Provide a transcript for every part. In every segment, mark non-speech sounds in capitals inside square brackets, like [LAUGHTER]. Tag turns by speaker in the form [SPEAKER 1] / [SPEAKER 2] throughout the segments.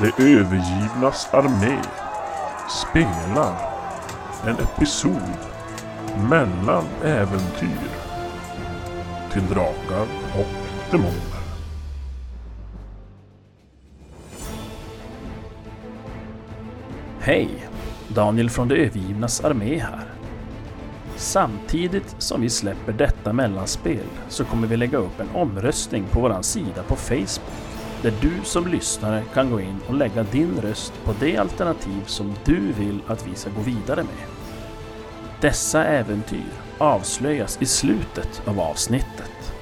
[SPEAKER 1] De övergivnas armé spelar en episod mellan äventyr till drakar och demoner.
[SPEAKER 2] Hej! Daniel från Det övergivnas armé här. Samtidigt som vi släpper detta mellanspel så kommer vi lägga upp en omröstning på våran sida på Facebook där du som lyssnare kan gå in och lägga din röst på det alternativ som du vill att vi ska gå vidare med. Dessa äventyr avslöjas i slutet av avsnittet.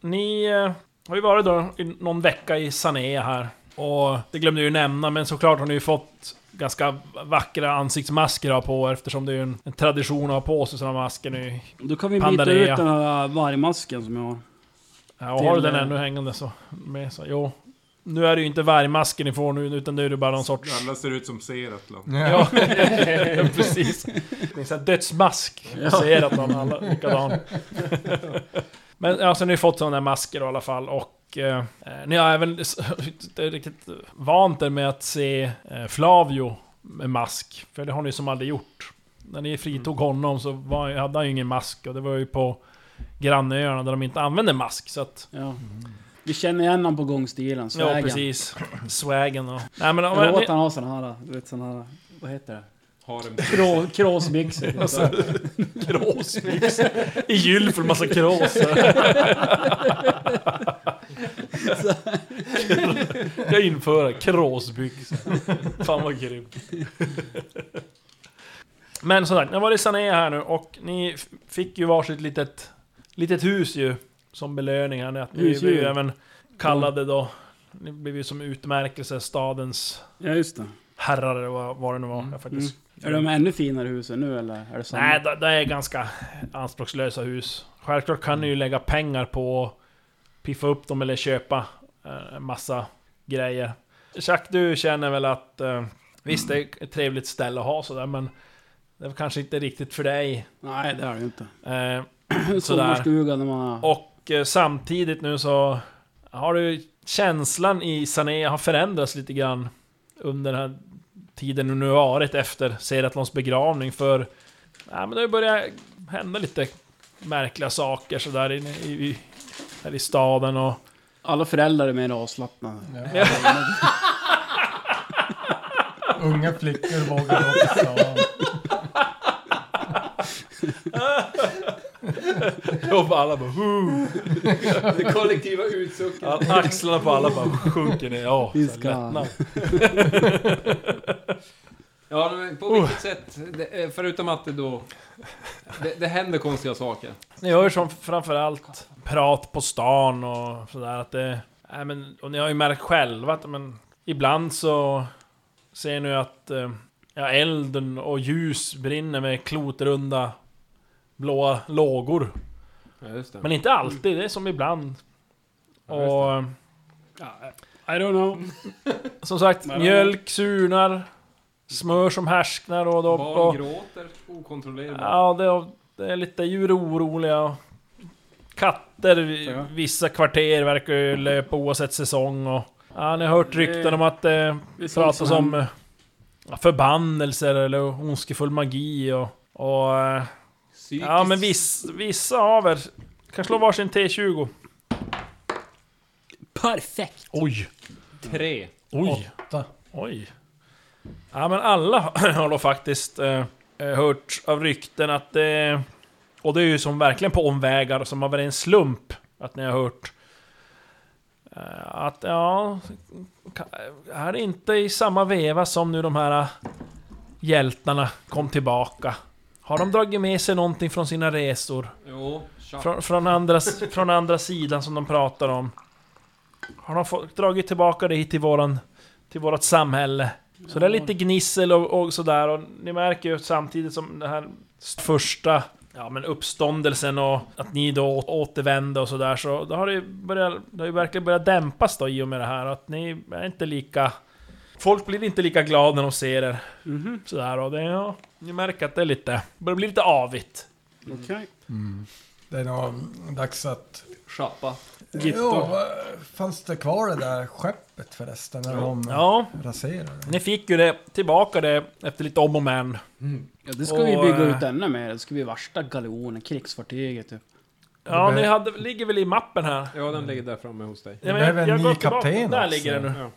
[SPEAKER 3] Ni eh, har ju varit då i någon vecka i Sané här. Och det glömde jag ju nämna, men såklart har ni ju fått ganska vackra ansiktsmasker att ha på er, eftersom det är ju en, en tradition att ha på sig sådana masker nu.
[SPEAKER 4] Då kan vi byta
[SPEAKER 3] Pandarea.
[SPEAKER 4] ut den här vargmasken som jag har.
[SPEAKER 3] Ja, och har du
[SPEAKER 4] Till,
[SPEAKER 3] den
[SPEAKER 4] eh,
[SPEAKER 3] ännu hängande så... Med, så jo. Nu är det ju inte vargmasken ni får nu, utan nu är det bara någon sorts...
[SPEAKER 5] Alla ser ut som Seratlan.
[SPEAKER 3] Ja, precis. Det är en sån här dödsmask. Jag ser att de alla är likadan. Men ja, sen har ni fått sådana där masker då, i alla fall och eh, ni har även inte riktigt vant er med att se eh, Flavio med mask. För det har ni som aldrig gjort. När ni fritog honom så var, hade han ju ingen mask och det var ju på grannöarna där de inte använder mask. Så att
[SPEAKER 4] Ja. Vi känner igen honom på gångstilen, svägen.
[SPEAKER 3] Ja, precis. Swagen och... Nej men...
[SPEAKER 4] Jag
[SPEAKER 3] men
[SPEAKER 4] lovar
[SPEAKER 3] ni,
[SPEAKER 4] att han har sån här, du vet sån här, vad heter det?
[SPEAKER 5] Har en
[SPEAKER 4] Krå, [LAUGHS] kråsbyxor. typ.
[SPEAKER 3] Alltså. Krås liksom. I jul för en massa krås. Jag inför det. kråsbyxor. Fan vad grymt. Men som sagt, jag var i Sané här nu och ni f- fick ju varsitt litet, litet hus ju. Som belöning här nu. Att Ni blev ju
[SPEAKER 4] Husdjur.
[SPEAKER 3] även kallade då. Ni blev ju som utmärkelse stadens
[SPEAKER 4] Ja, just det.
[SPEAKER 3] herrar eller vad- vad det nu var. Jag faktiskt
[SPEAKER 4] Är de ännu finare husen nu eller? Är det samma?
[SPEAKER 3] Nej, det, det är ganska anspråkslösa hus. Självklart kan ni ju lägga pengar på att piffa upp dem eller köpa eh, en massa grejer. Jack, du känner väl att eh, visst, det är ett trevligt ställe att ha sådär, men det är kanske inte riktigt för dig.
[SPEAKER 4] Nej, det är det ju inte. [CLEARS THROAT]
[SPEAKER 3] Eh,
[SPEAKER 4] En sommarstuga när man har...
[SPEAKER 3] och eh, samtidigt nu så har du känslan i Sané har förändrats lite grann under den här tiden du nu har varit efter Seratlons begravning för nej, men det har ju börjat hända lite märkliga saker sådär inne i, i, här i staden och
[SPEAKER 4] Alla föräldrar är mer avslappnade.
[SPEAKER 6] Unga flickor vågar gå till stan.
[SPEAKER 3] [LAUGHS] Och alla bara "Woo!"
[SPEAKER 7] [LAUGHS] Det kollektiva utsucket.
[SPEAKER 3] All- Axlarna på alla bara sjunker ner. Ja,
[SPEAKER 4] Vi
[SPEAKER 3] så
[SPEAKER 4] ska-
[SPEAKER 3] lättnad.
[SPEAKER 7] Ja, men på
[SPEAKER 3] Oh.
[SPEAKER 7] vilket sätt? Det, eh, förutom att det då... Det, det händer konstiga saker.
[SPEAKER 3] Ni hör som framförallt prat på stan och sådär att det... Nej men, och ni har ju märkt själva att men, ibland så ser ni ju att eh, ja, elden och ljus brinner med klotrunda blåa lågor.
[SPEAKER 7] Ja, just det.
[SPEAKER 3] Men inte alltid, det är som ibland.
[SPEAKER 7] just det.
[SPEAKER 3] Och eh,
[SPEAKER 4] I don't know.
[SPEAKER 3] som sagt,
[SPEAKER 4] Men-
[SPEAKER 3] mjölk surnar, smör som härsknar och då...
[SPEAKER 7] Barn
[SPEAKER 3] Och,
[SPEAKER 7] gråter okontrollerat.
[SPEAKER 3] Ja, det är, det är lite djur oroliga. och Katter i
[SPEAKER 4] Ja.
[SPEAKER 3] vissa kvarter verkar ju löpa oavsett säsong och... Ja, ni har hört rykten om att det
[SPEAKER 4] Det är sånt
[SPEAKER 3] pratas
[SPEAKER 4] som
[SPEAKER 3] om
[SPEAKER 4] händer.
[SPEAKER 3] eh, ja, förbannelser eller ondskefull magi och... och eh,
[SPEAKER 7] Psykiskt.
[SPEAKER 3] ja, men viss, vissa av er kan slå varsin T20.
[SPEAKER 4] Perfekt!
[SPEAKER 3] Oj!
[SPEAKER 7] Tre.
[SPEAKER 3] Oj! Oj! Ja, men alla [CLEARS THROAT] har då faktiskt eh, hört av rykten att det... Och det är ju som verkligen på omvägar, som har varit en slump att ni har hört. Eh, att ja... ka- Här är inte i samma veva som nu de här eh, hjältarna kom tillbaka. Har de dragit med sig någonting från sina resor?
[SPEAKER 7] Jo, tja.
[SPEAKER 3] Från, från, andra, från andra sidan som de pratar om. Har de fått, dragit tillbaka det hit till våran... Till vårat samhälle. Så det är lite gnissel och, och sådär och ni märker ju samtidigt som den här första... Ja men uppståndelsen och att ni då å- återvände och sådär så då har det ju börjat... Det har ju verkligen börjat dämpas då i och med det här att ni är inte lika... Folk blir inte lika glada när de ser er. Sådär och det... Ja, ni märker att det är lite... Börjar bli lite avigt.
[SPEAKER 4] Okej.
[SPEAKER 6] Det är nog dags att
[SPEAKER 7] Sjappa.
[SPEAKER 6] Jo, fanns det kvar det där skeppet förresten? När de
[SPEAKER 3] Ja,
[SPEAKER 6] raserade?
[SPEAKER 3] ni fick ju det tillbaka det efter lite om och men.
[SPEAKER 4] Ja, det ska
[SPEAKER 3] Och,
[SPEAKER 4] vi bygga
[SPEAKER 3] eh,
[SPEAKER 4] ut ännu mer. Det ska bli värsta galjonen, krigsfartyget typ.
[SPEAKER 3] Ja, ni hade, ligger väl i mappen här?
[SPEAKER 7] Ja, den ligger där framme hos dig.
[SPEAKER 3] Ja,
[SPEAKER 6] behöver en ny
[SPEAKER 3] går tillbaka.
[SPEAKER 6] kapten
[SPEAKER 3] Där
[SPEAKER 6] också.
[SPEAKER 3] ligger den nu.
[SPEAKER 7] Ja.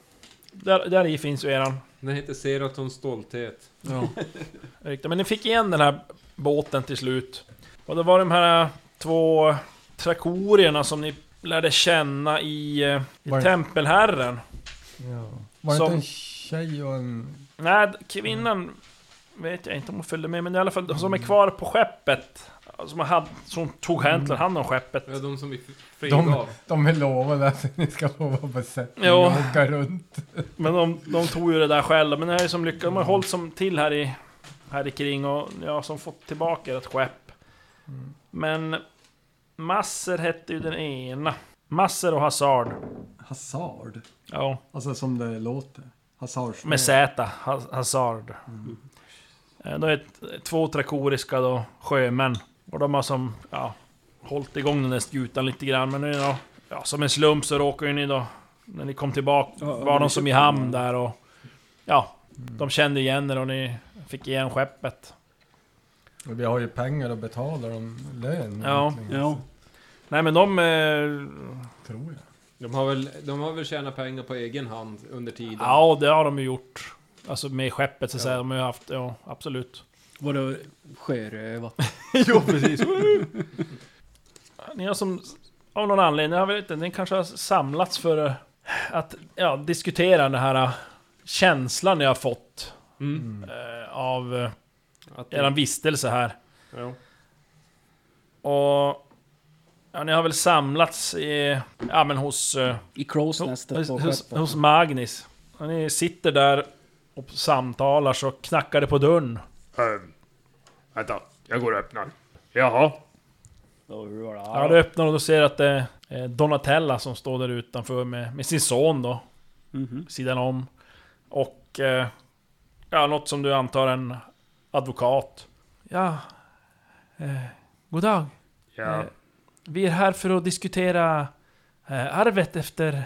[SPEAKER 3] Där, där i finns ju eran.
[SPEAKER 7] Den heter Seratons stolthet.
[SPEAKER 3] [LAUGHS] Riktigt. Men ni fick igen den här båten till slut. Och det var de här två trakorierna som ni lärde känna i, eh, i
[SPEAKER 6] Var det-
[SPEAKER 3] Tempelherren.
[SPEAKER 6] Ja. Var det
[SPEAKER 3] Som-
[SPEAKER 6] inte en tjej och en...
[SPEAKER 3] Nej, kvinnan vet jag inte om hon följde med, men i alla fall som är kvar på skeppet. Som, hade, som tog egentligen hand om skeppet.
[SPEAKER 7] Ja, de som vi f- frigav.
[SPEAKER 6] De, de är lovade att ni ska få vara besättning
[SPEAKER 3] Jo.
[SPEAKER 6] och åka runt.
[SPEAKER 3] Men de, de tog ju det där själva, men det här är som lyckats. De har hållit som till här i, här i kring och ja, som fått tillbaka ett skepp. Men Masser hette ju den ena. Masser och Hazard.
[SPEAKER 5] Hazard.
[SPEAKER 3] Ja,
[SPEAKER 5] Alltså som det låter. Hazard.
[SPEAKER 3] med Z. Ha- Hazard. Eh, De är t- två trakoriska då, sjömän. Och de har som, ja, hållit igång den där skutan lite grann. Men nu då, ja, som en slump så råkar ju ni då, när ni kom tillbaka, var de Mm. som i hamn där och... Ja, de kände igen er och ni fick igen skeppet.
[SPEAKER 6] Och vi har ju pengar att betala dem lön.
[SPEAKER 3] Ja.
[SPEAKER 6] egentligen,
[SPEAKER 4] Ja.
[SPEAKER 3] Nej men de... Eh,
[SPEAKER 6] Tror jag.
[SPEAKER 7] De har, väl, de har väl tjänat pengar på egen hand under tiden.
[SPEAKER 3] ja, det har de ju gjort. Alltså med skeppet så att säga, de har ju haft, ja absolut.
[SPEAKER 4] Var det sjörövat?
[SPEAKER 3] [LAUGHS] jo, precis. ni har som, av någon anledning, jag vet inte, ni kanske har samlats för eh, att ja, diskutera den här eh, känslan ni har fått
[SPEAKER 7] Mm.
[SPEAKER 3] eh, av eh,
[SPEAKER 7] Att de,
[SPEAKER 3] eran vistelse här.
[SPEAKER 7] ja.
[SPEAKER 3] Och ja, ni har väl samlats i, ja men hos... Eh,
[SPEAKER 4] I Crowsnestet på
[SPEAKER 3] hos, hos,
[SPEAKER 4] skeppet.
[SPEAKER 3] hos Magnus. Och ni sitter där och samtalar så knackar det på dörren.
[SPEAKER 8] Vänta, jag går och öppnar. Jaha.
[SPEAKER 3] Ja, du öppnar och du ser att det är Donatella som står där utanför med, med sin son då.
[SPEAKER 4] Mhm.
[SPEAKER 3] Sidan om. Och... eh, Ja, något som du antar en advokat. Ja... Eh, god dag.
[SPEAKER 8] Ja.
[SPEAKER 3] Eh, Vi är här för att diskutera eh, arvet efter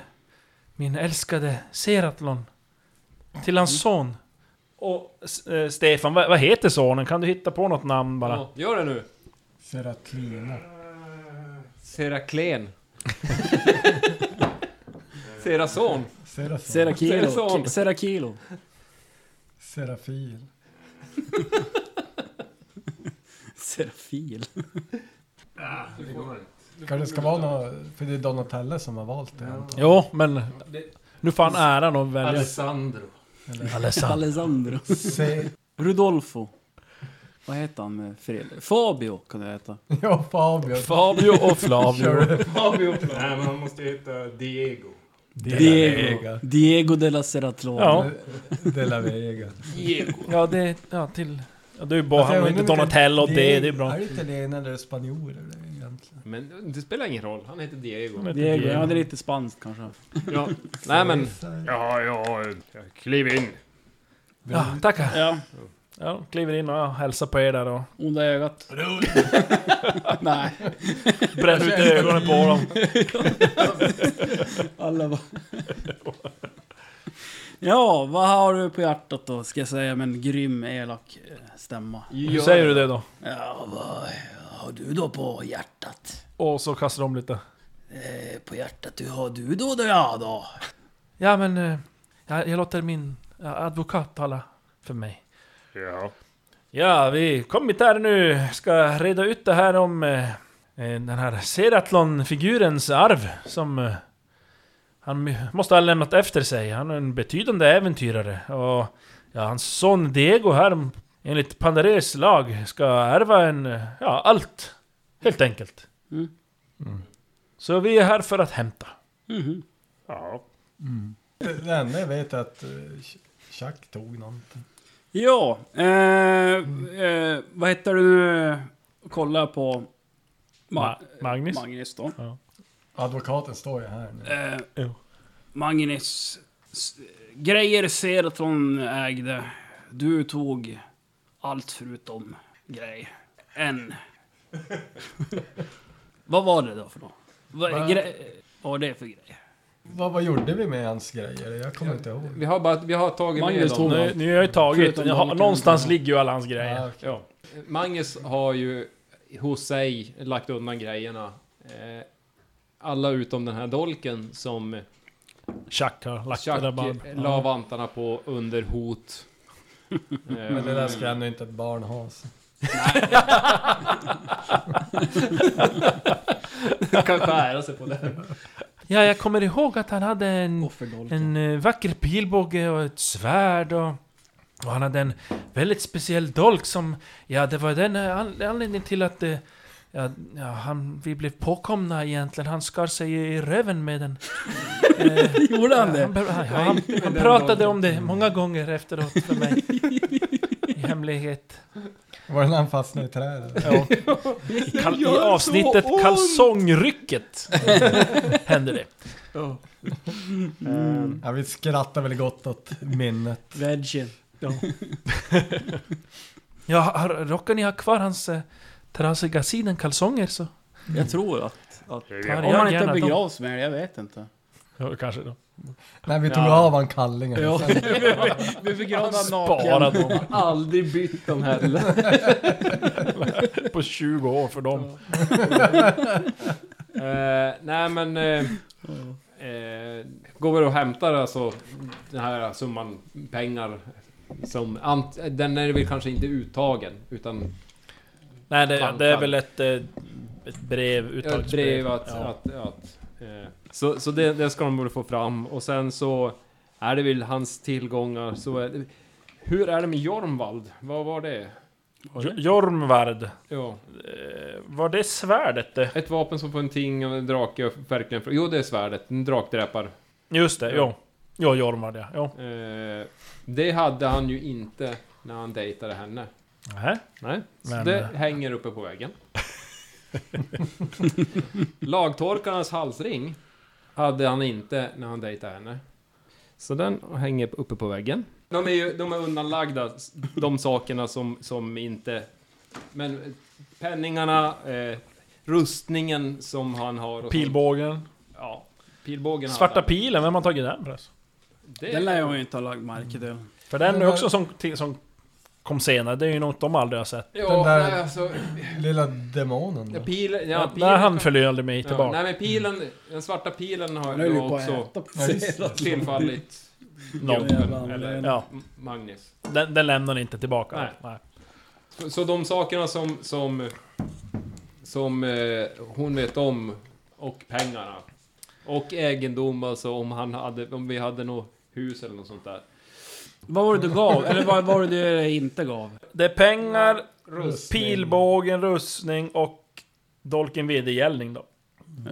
[SPEAKER 3] min älskade Seratlon. Till hans son. Mm. Och S- eh, Stefan, vad, vad heter sonen? Kan du hitta på något namn bara?
[SPEAKER 7] Ja, gör det nu!
[SPEAKER 6] Seratlina.
[SPEAKER 3] [LAUGHS]
[SPEAKER 7] Seraklen. Serason.
[SPEAKER 6] Serafil.
[SPEAKER 4] Serakilo.
[SPEAKER 7] Serafon.
[SPEAKER 4] Serakilo.
[SPEAKER 6] Serafil.
[SPEAKER 4] Serafil.
[SPEAKER 6] Kanske det ska vara någon... För det är Donatelle som har valt det. antar
[SPEAKER 3] Jo, men... Nu får han äran att välja.
[SPEAKER 7] Alessandro.
[SPEAKER 3] Alessandro.
[SPEAKER 4] [LAUGHS] Alessandro.
[SPEAKER 6] jag. Se...
[SPEAKER 4] Rudolfo. Vad heter han med fel? Fabio kan det heta.
[SPEAKER 6] Ja, Fabio.
[SPEAKER 3] Fabio och
[SPEAKER 6] Kör
[SPEAKER 3] Flavio.
[SPEAKER 6] du?
[SPEAKER 8] Nej, men man måste hitta Diego.
[SPEAKER 4] Diego. Diego de la Seratlon.
[SPEAKER 3] Ja.
[SPEAKER 6] De la Vega.
[SPEAKER 3] Ja, det... Ja, till... Ja, du är bara...
[SPEAKER 6] Alltså, jag
[SPEAKER 3] Han
[SPEAKER 6] undrar
[SPEAKER 3] inte
[SPEAKER 6] om
[SPEAKER 3] Donatello och det, det är bra.
[SPEAKER 6] Är det italienare eller spanjorer det är egentligen?
[SPEAKER 7] Men det spelar ingen roll, han heter Diego.
[SPEAKER 3] Han heter
[SPEAKER 4] Diego, ja det är lite spanskt kanske.
[SPEAKER 7] Ja. Nej men,
[SPEAKER 8] Ja, ja, eh, kliv in.
[SPEAKER 3] Ja, tackar.
[SPEAKER 4] Ja,
[SPEAKER 3] Ja, de kliver in och hälsar på er där [LAUGHS] och
[SPEAKER 4] onda ögat. [LAUGHS] Nej,
[SPEAKER 3] bränner ut ögonen på dem.
[SPEAKER 4] alla bara... [LAUGHS] Ja, vad har du på hjärtat då? Ska jag säga med en grym, elak eh, stämma.
[SPEAKER 3] Hur säger du det då?
[SPEAKER 4] Ja, vad har du då på hjärtat?
[SPEAKER 3] Och så kastar de lite.
[SPEAKER 4] Eh, på hjärtat, du har du då då ja då?
[SPEAKER 3] Ja, men eh, jag, jag låter min ja, advokat tala för mig.
[SPEAKER 8] Ja.
[SPEAKER 3] Ja, vi kommit här nu. Ska reda ut det här om eh, eh, den här Seratlon-figurens arv som eh, han måste ha lämnat efter sig. Han är en betydande äventyrare. Och ja, hans son Diego här, enligt Pandares lag, ska ärva en, eh, ja, allt. Helt enkelt.
[SPEAKER 4] Mm.
[SPEAKER 3] Mm. Så vi är här för att hämta.
[SPEAKER 4] Mhm.
[SPEAKER 8] Ja.
[SPEAKER 6] Det det enda jag vet är att eh, Ch- Chuck tog någonting.
[SPEAKER 4] Ja, eh, eh, vad heter du nu? Kolla på Ma-
[SPEAKER 3] Magnus?
[SPEAKER 4] Magnus då.
[SPEAKER 6] Advokaten står ju här nu.
[SPEAKER 4] Eh,
[SPEAKER 3] Jo.
[SPEAKER 4] Magnus, s- grejer Seratlon ägde. Du tog allt förutom grej. En. Vad var det då för något? Vad-
[SPEAKER 6] Va?
[SPEAKER 4] gre- Vad var det för grejer?
[SPEAKER 6] Vad, vad gjorde vi med hans grejer? Jag kommer inte ihåg.
[SPEAKER 7] Vi har, bara, vi har tagit
[SPEAKER 4] Magnus
[SPEAKER 7] med
[SPEAKER 4] tog-
[SPEAKER 7] dem.
[SPEAKER 3] Nu, nu har jag ju tagit,
[SPEAKER 4] Förutom
[SPEAKER 3] jag har,
[SPEAKER 4] Malcolm.
[SPEAKER 3] någonstans ligger ju alla hans grejer.
[SPEAKER 6] Ja, okej.
[SPEAKER 3] ja.
[SPEAKER 7] Magnus har ju hos sig lagt undan grejerna. Eh, Alla utom den här dolken som
[SPEAKER 3] Chuck har lagt
[SPEAKER 7] Chuck
[SPEAKER 3] det där
[SPEAKER 4] eh,
[SPEAKER 3] band.
[SPEAKER 7] la vantarna på under
[SPEAKER 8] [LAUGHS]
[SPEAKER 7] hot. Eh,
[SPEAKER 6] Men det där ska ändå inte ett barn ha. så.
[SPEAKER 7] kan skära sig på det.
[SPEAKER 3] Ja, jag kommer ihåg att han hade en,
[SPEAKER 4] Offerdolken.
[SPEAKER 3] en eh, vacker pilbåge och ett svärd och, och han hade en väldigt speciell dolk som... Ja, det var den eh, an, anledningen till att eh, ja, ja, han, vi blev påkomna egentligen. Han skar sig i röven med
[SPEAKER 4] [LAUGHS]
[SPEAKER 3] den. Eh,
[SPEAKER 4] Gjorde han
[SPEAKER 3] ja,
[SPEAKER 4] det?
[SPEAKER 3] han, be- ja, han, han pratade om det många gånger efteråt för
[SPEAKER 4] [LAUGHS]
[SPEAKER 3] mig. I hemlighet.
[SPEAKER 6] Var det när han fastnade i trädet?
[SPEAKER 3] I, kal- i avsnittet Kalsongrycket hände det. Mm.
[SPEAKER 6] Ja, vi skrattar väl gott åt minnet.
[SPEAKER 4] Veggen.
[SPEAKER 3] Ja, har, råkar ni ha kvar hans eh, trasiga sidenkalsonger så...
[SPEAKER 4] Jag tror att... att
[SPEAKER 3] tar
[SPEAKER 4] om
[SPEAKER 3] jag
[SPEAKER 4] han
[SPEAKER 3] gärna
[SPEAKER 4] inte
[SPEAKER 3] dem.
[SPEAKER 4] begravs med det, jag vet inte.
[SPEAKER 3] Ja, kanske då.
[SPEAKER 6] Nej, vi tog
[SPEAKER 7] Ja.
[SPEAKER 6] av han kallingen.
[SPEAKER 4] Ja,
[SPEAKER 6] Sen-
[SPEAKER 4] vi begravde
[SPEAKER 3] Bara
[SPEAKER 4] naken.
[SPEAKER 3] dem.
[SPEAKER 7] Eh, Aldrig bytt dem heller.
[SPEAKER 3] På 20 år för dem.
[SPEAKER 7] Eh, nej men... Eh, eh, går vi och hämtar alltså den här summan pengar som... Ant, den är väl kanske inte uttagen utan...
[SPEAKER 3] Nej, det,
[SPEAKER 7] Kan-
[SPEAKER 3] det är
[SPEAKER 7] kan.
[SPEAKER 3] väl ett, eh, ett brev,
[SPEAKER 7] Ett
[SPEAKER 3] uttagsbrev.
[SPEAKER 7] brev att... att, att eh, så så det, det ska de väl få fram och sen så... Är det väl hans tillgångar så är det, Hur är det med Jormvald? Vad var det?
[SPEAKER 3] J- Jormvard.
[SPEAKER 7] Ja,
[SPEAKER 3] Eh, var det svärdet det?
[SPEAKER 7] ett vapen som får en ting och en drake och verkligen... Jo, det är svärdet. En drakdräpare.
[SPEAKER 3] Just det, ja. Ja, Jormvard ja. ja.
[SPEAKER 7] Eh, det hade han ju inte när han dejtade henne.
[SPEAKER 3] Nähä.
[SPEAKER 7] Nej, så
[SPEAKER 3] Men-
[SPEAKER 7] det hänger uppe på väggen. Lagtorkarnas halsring hade han inte när han dejtade henne. Så den hänger uppe på väggen. De är ju de är undanlagda, s- de sakerna som, som inte... Men eh, penningarna, eh, rustningen som han har... och sånt.
[SPEAKER 3] Pilbågen.
[SPEAKER 7] Ja, pilbågen hade
[SPEAKER 3] Svarta
[SPEAKER 7] han.
[SPEAKER 3] pilen, vem har tagit den förresten?
[SPEAKER 7] Det-
[SPEAKER 4] Den lär jag ju inte ha lagt märke till.
[SPEAKER 3] För den
[SPEAKER 6] Den
[SPEAKER 3] är
[SPEAKER 6] där-
[SPEAKER 3] också som, till- som kom senare, det är ju något de aldrig har sett.
[SPEAKER 7] Ja,
[SPEAKER 6] Den där-
[SPEAKER 7] nej, alltså...
[SPEAKER 6] Lilla demonen.
[SPEAKER 7] Ja,
[SPEAKER 6] Då.
[SPEAKER 7] pilen... Ja,
[SPEAKER 3] Ja,
[SPEAKER 7] pilen
[SPEAKER 3] När han förlöjade mig
[SPEAKER 7] Ja,
[SPEAKER 3] tillbaka.
[SPEAKER 7] nej men pilen, den svarta pilen har
[SPEAKER 4] Den höll
[SPEAKER 7] ju
[SPEAKER 4] ju på att
[SPEAKER 7] också
[SPEAKER 4] äta
[SPEAKER 6] Ja, just det.
[SPEAKER 7] tillfallit
[SPEAKER 3] Någon.
[SPEAKER 4] Jävlar,
[SPEAKER 7] eller-
[SPEAKER 4] den-
[SPEAKER 3] Ja,
[SPEAKER 7] Magnus.
[SPEAKER 3] den, den lämnar ni inte tillbaka.
[SPEAKER 7] Nej.
[SPEAKER 3] Nej.
[SPEAKER 7] Så, så de sakerna som, som, som eh, hon vet om och pengarna och egendom alltså om han hade, om vi hade något hus eller något sånt där.
[SPEAKER 4] Vad var det du gav? Eller vad var det du inte gav?
[SPEAKER 3] Det är pengar,
[SPEAKER 6] Rustning.
[SPEAKER 3] pilbågen, rustning och dolken vedergällning då.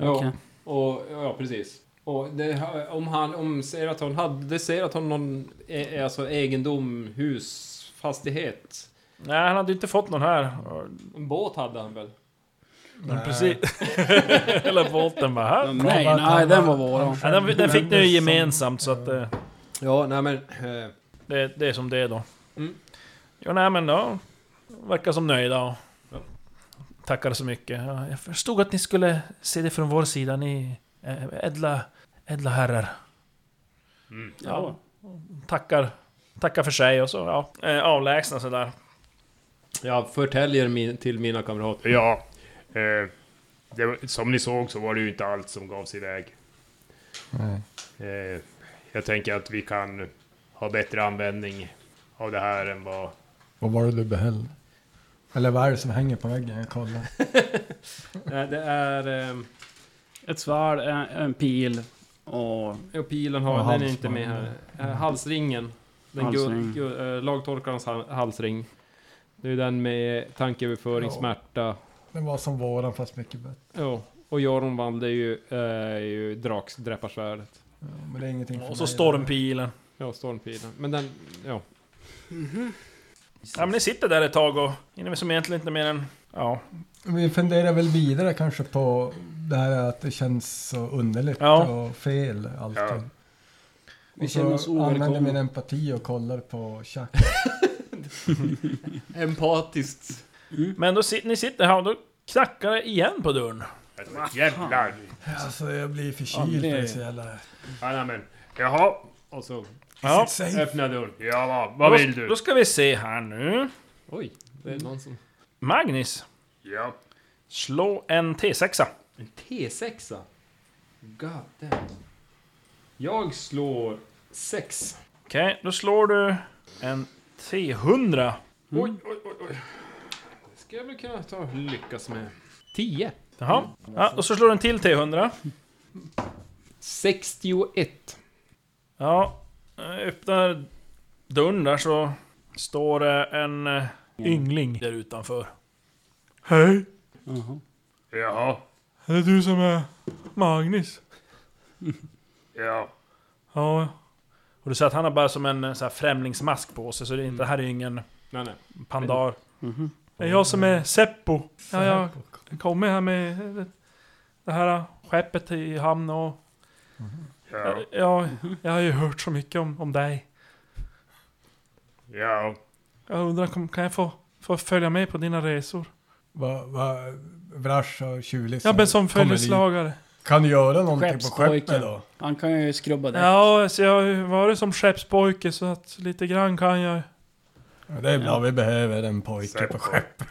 [SPEAKER 7] Ja, och, ja precis. Och det, om han, om säger att hon hade, det säger att hon någon, eh, alltså egendom, hus, fastighet.
[SPEAKER 3] Nej, han hade ju inte fått någon här.
[SPEAKER 7] En båt hade han väl?
[SPEAKER 3] Men precis. [LAUGHS] Hela volten bara här.
[SPEAKER 4] Nej, nej, den var våran.
[SPEAKER 3] Ja, den, den fick ni ju gemensamt så att eh,
[SPEAKER 7] Ja, nej men... Eh,
[SPEAKER 3] det, det är som det är då.
[SPEAKER 7] Mm.
[SPEAKER 3] Jo, nej men då. Verkar som nöjda och tackar så mycket. Ja, jag förstod att ni skulle se det från vår sida, ni eh, ädla, ädla herrar.
[SPEAKER 4] Ja.
[SPEAKER 3] Tackar, tackar för sig och så ja, eh, avlägsna sig där.
[SPEAKER 7] Jag förtäljer min, till mina kamrater.
[SPEAKER 8] Ja, eh, det, var- som ni såg så var det ju inte allt som gavs iväg.
[SPEAKER 6] Nej.
[SPEAKER 8] Eh, jag tänker att vi kan ha bättre användning av det här än vad...
[SPEAKER 6] Vad var det du behöll? Eller vad är det som hänger på väggen? Jag kollar.
[SPEAKER 7] Nej, Eh, det är... ehm,
[SPEAKER 4] Ett svärd, en, en pil och...
[SPEAKER 7] ja, pilen
[SPEAKER 6] Och
[SPEAKER 7] har, den är
[SPEAKER 6] halsband.
[SPEAKER 7] inte med här. Eh, Halsringen. Den eh,
[SPEAKER 4] Halsring.
[SPEAKER 7] halsring. lagtorkarens hal- halsring. Det är den med tankeöverföring,
[SPEAKER 6] Ja.
[SPEAKER 7] smärta.
[SPEAKER 6] Den var som våran fast mycket bättre.
[SPEAKER 7] Ja. Och Jormvald är ju, eh, är ju draks, dräparsvärdet.
[SPEAKER 6] Ja, men det är ingenting för
[SPEAKER 3] Och så
[SPEAKER 6] mig.
[SPEAKER 3] stormpilen.
[SPEAKER 7] Ja, stormpilen. Men den, ja.
[SPEAKER 3] Ja men ni sitter där ett tag och hinner väl som egentligen inte mer än... Ja.
[SPEAKER 6] Vi funderar väl vidare kanske på det här att det känns så underligt
[SPEAKER 3] Ja.
[SPEAKER 6] och fel allting.
[SPEAKER 8] Ja.
[SPEAKER 4] Vi
[SPEAKER 6] Och
[SPEAKER 4] känner oss
[SPEAKER 6] så använder
[SPEAKER 4] ovälkomna.
[SPEAKER 6] min empati och kollar på Chuck.
[SPEAKER 7] Empatiskt.
[SPEAKER 3] Men då sit, ni sitter här och då knackar det igen på dörren.
[SPEAKER 8] Alltså, jävlar!
[SPEAKER 6] [LAUGHS] Alltså jag blir
[SPEAKER 4] Ja,
[SPEAKER 6] förkyld.
[SPEAKER 4] det-
[SPEAKER 6] Ja, så jävla...
[SPEAKER 8] Ja, nej, men. Jaha. Och så
[SPEAKER 3] Ja.
[SPEAKER 6] Säg
[SPEAKER 8] öppnar dörren. Ja, vad, vad vill
[SPEAKER 3] Då
[SPEAKER 8] du?
[SPEAKER 3] ska vi se här nu.
[SPEAKER 7] Oj, det är någon som...
[SPEAKER 3] Magnus,
[SPEAKER 8] Ja.
[SPEAKER 3] slå en T6.
[SPEAKER 7] En T6? God damn. Jag slår 6.
[SPEAKER 3] Okej, då slår du en T100.
[SPEAKER 7] Oj, oj, oj, oj. Det ska jag väl kunna ta och lyckas med. 10.
[SPEAKER 3] Jaha. Ja, och så slår du en till T100.
[SPEAKER 7] 61.
[SPEAKER 3] Ja, jag öppnar dörren där så står det en eh, yngling där utanför.
[SPEAKER 6] Hej!
[SPEAKER 4] Jaha.
[SPEAKER 8] Jaha.
[SPEAKER 6] Är det du som är Magnus?
[SPEAKER 8] [LAUGHS] Ja.
[SPEAKER 3] Ja. Och du ser att han har bara som en eh, så här främlingsmask på sig, så det,
[SPEAKER 8] Mm.
[SPEAKER 3] är inte, det här är ju ingen
[SPEAKER 7] Nej, nej.
[SPEAKER 3] pandar.
[SPEAKER 4] Mhm.
[SPEAKER 3] Det är jag som är Seppo. Ja, jag kommer här med eh, det här skeppet i hamn och...
[SPEAKER 8] Ja.
[SPEAKER 3] Ja, jag har ju hört så mycket om, om dig.
[SPEAKER 8] Ja.
[SPEAKER 3] Jag undrar, kom- kan jag få, få följa med på dina resor?
[SPEAKER 6] Vad va, Vrash och Tjulis
[SPEAKER 3] Jag blir
[SPEAKER 6] som
[SPEAKER 3] som
[SPEAKER 6] kommer dit.
[SPEAKER 3] följeslagare.
[SPEAKER 6] Kan du göra någonting på
[SPEAKER 4] Skeppspojken.
[SPEAKER 6] skeppet då?
[SPEAKER 4] Han kan ju skrubba däck.
[SPEAKER 3] Ja, så jag har ju varit som skeppspojke så att lite grann kan jag
[SPEAKER 6] Ja, det är bra, vi behöver en pojke
[SPEAKER 8] Säg
[SPEAKER 6] på
[SPEAKER 8] på.
[SPEAKER 6] skeppet.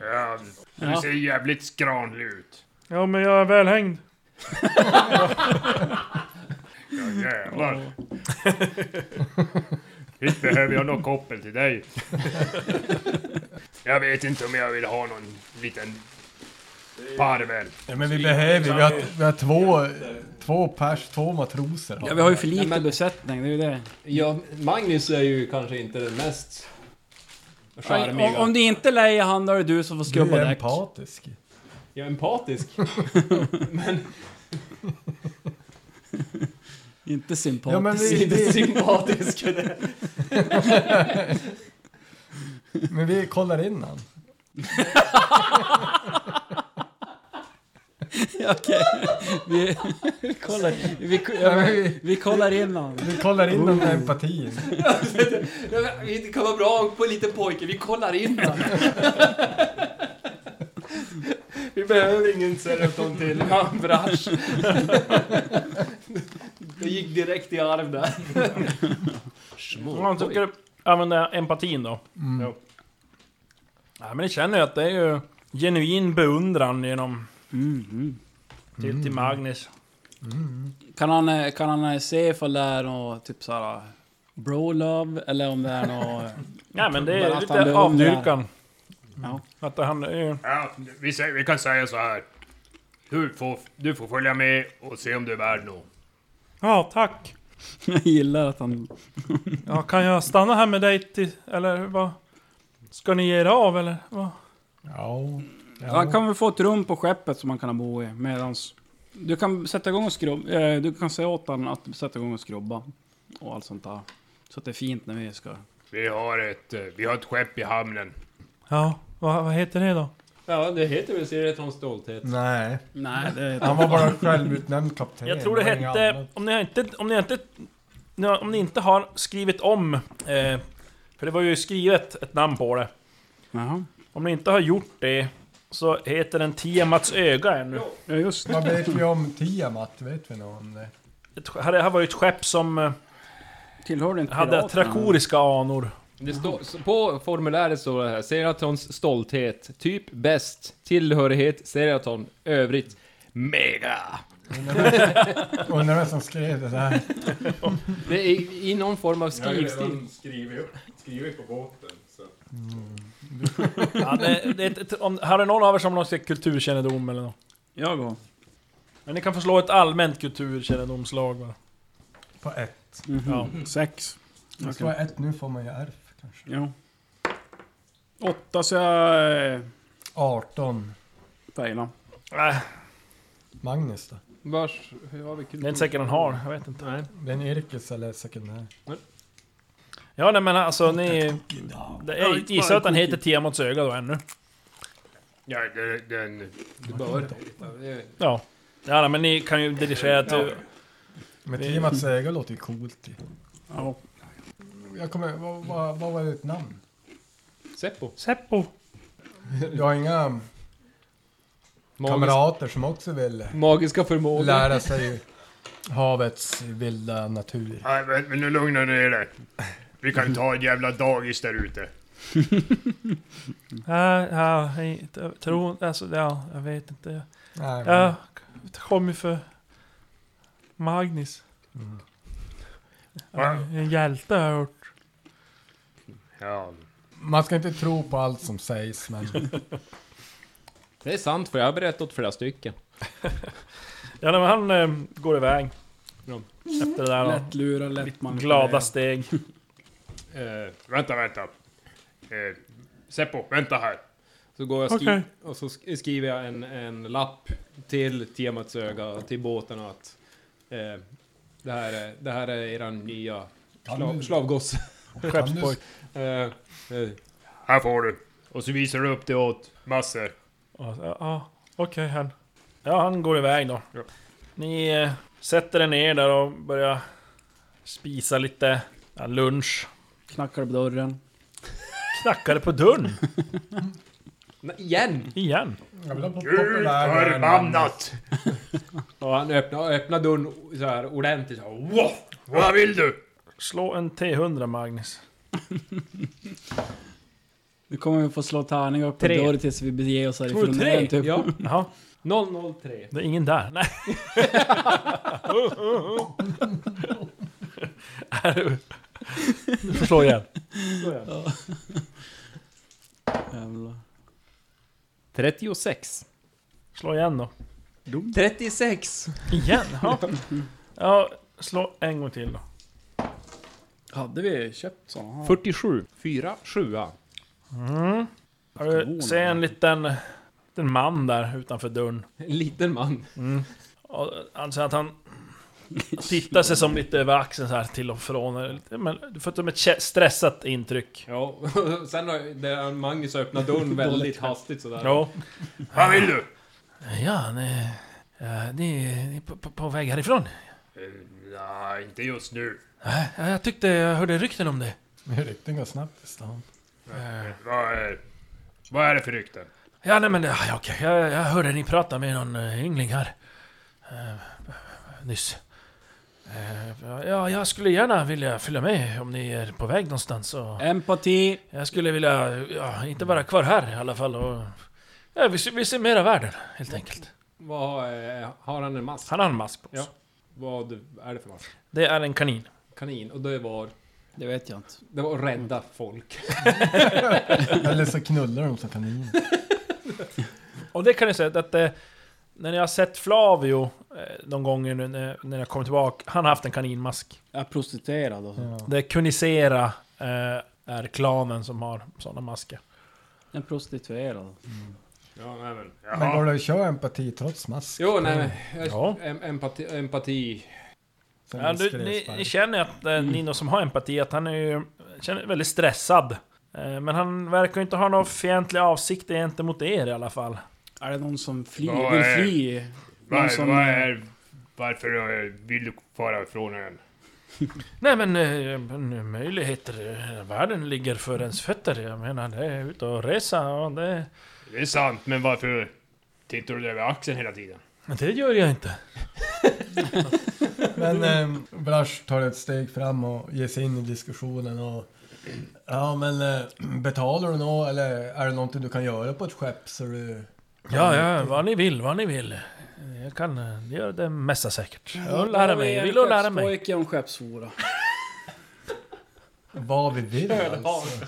[SPEAKER 8] ja. Du
[SPEAKER 4] Ja.
[SPEAKER 8] ser jävligt skranlig ut.
[SPEAKER 3] Ja, men jag är välhängd.
[SPEAKER 8] Ja, jävlar. Visst behöver jag någon koppel till dig. Jag vet inte om jag vill ha någon liten parvel.
[SPEAKER 6] Ja, men vi behöver ju, vi har, vi har två, två pers, två matroser.
[SPEAKER 4] Ja, vi har ju för lite
[SPEAKER 7] Nej, men-
[SPEAKER 4] besättning, det är ju det.
[SPEAKER 7] Ja, Magnus är ju kanske inte den mest charmiga.
[SPEAKER 4] Om, om det inte är Leia han, då är det du som får
[SPEAKER 6] Du
[SPEAKER 4] skrubba
[SPEAKER 6] är
[SPEAKER 4] däck.
[SPEAKER 6] empatisk.
[SPEAKER 7] Jag är empatisk.
[SPEAKER 4] Inte sympatisk.
[SPEAKER 6] Ja, men vi,
[SPEAKER 7] Inte
[SPEAKER 4] [LAUGHS]
[SPEAKER 6] vi,
[SPEAKER 7] sympatisk.
[SPEAKER 6] men vi kollar in han.
[SPEAKER 4] Okej. Vi, kollar, vi, ja, men vi, kollar in honom.
[SPEAKER 6] Vi kollar in den
[SPEAKER 3] Oh.
[SPEAKER 6] med empatin.
[SPEAKER 7] Det kan vara bra på en liten pojke. Vi kollar
[SPEAKER 4] [LAUGHS]
[SPEAKER 7] in den. [LAUGHS] Vi behöver ingen Seraton till. Ja, brasch. Det gick direkt i arv där.
[SPEAKER 3] Man tycker använda empatin då.
[SPEAKER 6] Mm.
[SPEAKER 3] Ja. Nej, men det känner jag att det är ju genuin beundran genom
[SPEAKER 4] Mm, mm.
[SPEAKER 3] till, till Magnus.
[SPEAKER 4] Kan han, eh, kan han eh, se ifall det är något typ såhär bro love eller om det är något... eh,
[SPEAKER 3] Nej, men det
[SPEAKER 4] Bara
[SPEAKER 3] är
[SPEAKER 4] att han
[SPEAKER 3] lite
[SPEAKER 4] beundrar.
[SPEAKER 3] avdukan.
[SPEAKER 4] Ja.
[SPEAKER 3] Att han är ju...
[SPEAKER 8] Ja, vi, säger, vi kan säga så här. Du får, du får följa med och se om du är värd något.
[SPEAKER 3] Ja, tack.
[SPEAKER 4] Jag gillar att han...
[SPEAKER 3] Ja, kan jag stanna här med dig till... Eller vad? Ska ni ge er av eller? Vad?
[SPEAKER 6] Ja.
[SPEAKER 4] Han
[SPEAKER 6] ja.
[SPEAKER 4] kan väl få ett rum på skeppet som han kan bo i medans... Du kan sätta igång och skrubba... Eh, du kan säga åt honom att sätta igång och skrubba. Och allt sånt där. Så att det är fint när vi ska...
[SPEAKER 8] Vi har ett, eh, vi har ett skepp i hamnen.
[SPEAKER 3] Ja, vad, vad heter det då?
[SPEAKER 7] Ja, det heter väl Seraton stolthet.
[SPEAKER 6] Nej,
[SPEAKER 4] Nej, det är...
[SPEAKER 6] han var bara självutnämnd kapten.
[SPEAKER 3] Jag tror det
[SPEAKER 6] var inget
[SPEAKER 3] hette,
[SPEAKER 6] annat.
[SPEAKER 3] om ni inte, om ni inte, om ni inte har skrivit om, eh, för det var ju skrivet ett namn på det.
[SPEAKER 4] Jaha.
[SPEAKER 3] Om ni inte har gjort det, så heter den Tiamats öga ännu.
[SPEAKER 4] Ja, just det.
[SPEAKER 6] Vad vet vi om Tiamat? Vet vi
[SPEAKER 3] [LAUGHS]
[SPEAKER 6] något om det?
[SPEAKER 3] Ett, sk- här- det här var ju ett skepp som eh,
[SPEAKER 4] Tillhör det inte
[SPEAKER 3] hade
[SPEAKER 4] piraterna?
[SPEAKER 3] trakoriska anor.
[SPEAKER 7] Det står, så på formuläret står det här, Seratons stolthet, typ bäst, tillhörighet, Seraton, övrigt, mega.
[SPEAKER 6] Undrar vem som skrev det där?
[SPEAKER 7] Det är i någon form av skrivstil.
[SPEAKER 8] skrivit, skrivit på båten. Så.
[SPEAKER 3] Ja, det, det, är ett- ett, om, här är någon av er som har någon slags kulturkännedom eller något?
[SPEAKER 4] Jag går.
[SPEAKER 3] Men ni kan få slå ett allmänt kulturkännedomslag bara.
[SPEAKER 6] På ett.
[SPEAKER 4] Mhm.
[SPEAKER 3] Ja.
[SPEAKER 4] Sex.
[SPEAKER 6] Det ska vara ett, nu får man ju ärf kanske.
[SPEAKER 4] Ja. Åtta så jag... eh,
[SPEAKER 6] 18.
[SPEAKER 4] Failar.
[SPEAKER 3] Äh,
[SPEAKER 6] Magnus då?
[SPEAKER 7] Vars, hur har vi
[SPEAKER 3] det är inte säkert han har, jag vet inte.
[SPEAKER 6] Den Irkes eller sekundär?
[SPEAKER 3] Ja nej, men alltså ni... Det, jag gissar att han heter Tiamats öga då ännu.
[SPEAKER 8] Ja, det- den...
[SPEAKER 7] Du bör.
[SPEAKER 3] Ja. Ja, nej, men ni kan ju dirigera till...
[SPEAKER 6] Men
[SPEAKER 3] Vi-
[SPEAKER 6] Tiamats öga låter ju coolt ju.
[SPEAKER 4] Ja.
[SPEAKER 6] Jag kommer, vad, vad, vad var ditt namn?
[SPEAKER 7] Seppo.
[SPEAKER 3] Mm. Seppo.
[SPEAKER 6] Jag har inga
[SPEAKER 7] Magisk,
[SPEAKER 6] kamrater som också vill
[SPEAKER 7] magiska förmågor.
[SPEAKER 6] lära sig havets vilda natur.
[SPEAKER 8] Nej, men, men nu lugnar ni er. Vi kan ta ett jävla dagis där ute.
[SPEAKER 3] Ja, ja, hej, jag tror... Alltså, ja, jag vet inte.
[SPEAKER 6] Nej, men-
[SPEAKER 3] Jag kom ju för Magnus.
[SPEAKER 6] Mm.
[SPEAKER 3] Ja, En hjälte har jag hört.
[SPEAKER 8] Ja.
[SPEAKER 6] Man ska inte tro på allt som sägs, men
[SPEAKER 3] [LAUGHS]
[SPEAKER 7] Det är sant, för jag har berättat åt flera stycken.
[SPEAKER 3] Ja, nej, men han eh, går iväg.
[SPEAKER 7] Ja.
[SPEAKER 3] Efter det där då.
[SPEAKER 4] Lätt lura, lätt man.
[SPEAKER 3] Glada steg.
[SPEAKER 8] Eh, vänta, vänta. Eh, Seppo, vänta här.
[SPEAKER 7] Så går jag och, skri-
[SPEAKER 3] Okej.
[SPEAKER 7] och så sk- skriver jag en, en lapp till Tiamats öga, till båten och att eh, det, här är, det här är eran nya slav, slavgosse. [LAUGHS]
[SPEAKER 6] Skeppspojk.
[SPEAKER 7] Eh, eh,
[SPEAKER 8] Här får du. Och så visar du upp det åt massor.
[SPEAKER 3] Ja, ja, ja. okej han. Ja, han går iväg då.
[SPEAKER 8] Ja.
[SPEAKER 3] Ni eh, sätter er ner där och börjar spisa lite ja, lunch.
[SPEAKER 4] Knackar på dörren.
[SPEAKER 3] Knackade på dörren
[SPEAKER 7] nej, igen!
[SPEAKER 3] igen.
[SPEAKER 6] jag vill ha pop-
[SPEAKER 8] Gud
[SPEAKER 6] populär-
[SPEAKER 8] förbannat!
[SPEAKER 7] Och han öppnar, öppnar dörren så här ordentligt. Så här, wow!
[SPEAKER 8] Vad vill du?
[SPEAKER 3] Slå en T100 Magnus.
[SPEAKER 4] Nu kommer vi få slå tärningar upp på
[SPEAKER 7] Tre.
[SPEAKER 4] dörren tills vi beger oss
[SPEAKER 7] Tror
[SPEAKER 4] härifrån
[SPEAKER 7] du tre?
[SPEAKER 4] igen, typ.
[SPEAKER 7] Ja.
[SPEAKER 3] Jaha,
[SPEAKER 7] 003.
[SPEAKER 3] det är ingen där. [LAUGHS] Nej. Är du- Du får slå igen.
[SPEAKER 4] Jävlar.
[SPEAKER 7] 36.
[SPEAKER 3] Slå igen då.
[SPEAKER 7] 36!
[SPEAKER 3] Igen? Ja. ja, slå en gång till då.
[SPEAKER 4] Hade vi köpt såna här?
[SPEAKER 7] 47. 4, 7.
[SPEAKER 3] Mm. Ja, Du ser en liten, liten man där utanför dörren.
[SPEAKER 7] En liten man.
[SPEAKER 3] Och Han säger att han tittar sig som lite över axeln så här till och från. Lite, Men du får som ett kä- stressat intryck.
[SPEAKER 7] Ja, [LAUGHS] sen har det- Magnus
[SPEAKER 3] [LAUGHS]
[SPEAKER 7] öppnat dörren väldigt hastigt sådär.
[SPEAKER 3] Ja.
[SPEAKER 8] Vad vill du?
[SPEAKER 3] Ja, ni, ja, ni, ni är på, på, på väg härifrån?
[SPEAKER 8] Eh, Nej, inte just nu.
[SPEAKER 3] Ja, jag tyckte jag hörde rykten om det.
[SPEAKER 6] Rykten går snabbt i stan.
[SPEAKER 8] Vad är, vad är det för rykten?
[SPEAKER 3] Ja, nej men ja, ja, okej. Jag, jag hörde ni prata med någon eh, yngling här. Eh, nyss. Eh, ja, jag skulle gärna vilja följa med om ni är på väg någonstans. Och...
[SPEAKER 4] Empati!
[SPEAKER 3] Jag skulle vilja, ja, inte vara kvar här i alla fall och... Ja, vi, ser- vi ser mera världen, helt enkelt.
[SPEAKER 7] Vad, eh, har han en mask?
[SPEAKER 3] Han har en mask på sig.
[SPEAKER 7] Ja. Vad är det för mask?
[SPEAKER 3] Det är en kanin.
[SPEAKER 7] Kanin. Och det var...
[SPEAKER 4] Det vet jag inte.
[SPEAKER 7] Det var att
[SPEAKER 3] Mm.
[SPEAKER 7] rädda folk.
[SPEAKER 6] [LAUGHS] Eller så knullar de som kaniner.
[SPEAKER 3] Och det kan jag säga att eh, när jag har sett Flavio eh, de gånger nu när, när jag kommer tillbaka, han har haft en kaninmask.
[SPEAKER 4] Jag är prostituerad alltså.
[SPEAKER 3] Det är Kunisera eh, är klanen som har sådana masker.
[SPEAKER 4] En prostituerad.
[SPEAKER 8] Ja, nej men.
[SPEAKER 6] Men går
[SPEAKER 8] Jaha.
[SPEAKER 6] det att köra empati trots mask?
[SPEAKER 7] Jo, nej men...
[SPEAKER 3] Mm.
[SPEAKER 7] Jag,
[SPEAKER 3] Ja.
[SPEAKER 7] em, empati, empati.
[SPEAKER 6] Sen
[SPEAKER 3] Ja,
[SPEAKER 6] skrev
[SPEAKER 3] du, ni,
[SPEAKER 6] Spark.
[SPEAKER 3] ni känner ju att eh, Nino som har empati, att han är ju känner, väldigt stressad. Eh, men han verkar ju inte ha några fientliga avsikter gentemot er i alla fall.
[SPEAKER 4] Är det någon som
[SPEAKER 8] Ja,
[SPEAKER 4] flyr? Vill
[SPEAKER 8] eh,
[SPEAKER 4] fly?
[SPEAKER 8] Vad,
[SPEAKER 4] Någon som-
[SPEAKER 8] vad är, varför eh, vill du fara ifrån ön?
[SPEAKER 3] Nej men eh, men möjligheter, eh, världen ligger för ens fötter. Jag menar, det är ut och resa och det...
[SPEAKER 8] Det är sant, men varför tittar du över axeln hela tiden?
[SPEAKER 3] Men Det gör jag inte.
[SPEAKER 6] Men eh, Brash tar ett steg fram och ger sig in i diskussionen och Ja men eh, betalar du nå eller är det någonting du kan göra på ett skepp så du...
[SPEAKER 3] Ja, ja, vad ni vill, vad ni vill. Eh, Jag kan eh, göra det mesta säkert. Jag vill lära
[SPEAKER 4] Vad
[SPEAKER 3] mig,
[SPEAKER 4] är
[SPEAKER 3] jag vill och lära mig.
[SPEAKER 4] skeppspojke om skeppshora.
[SPEAKER 6] Vad vi vill alltså.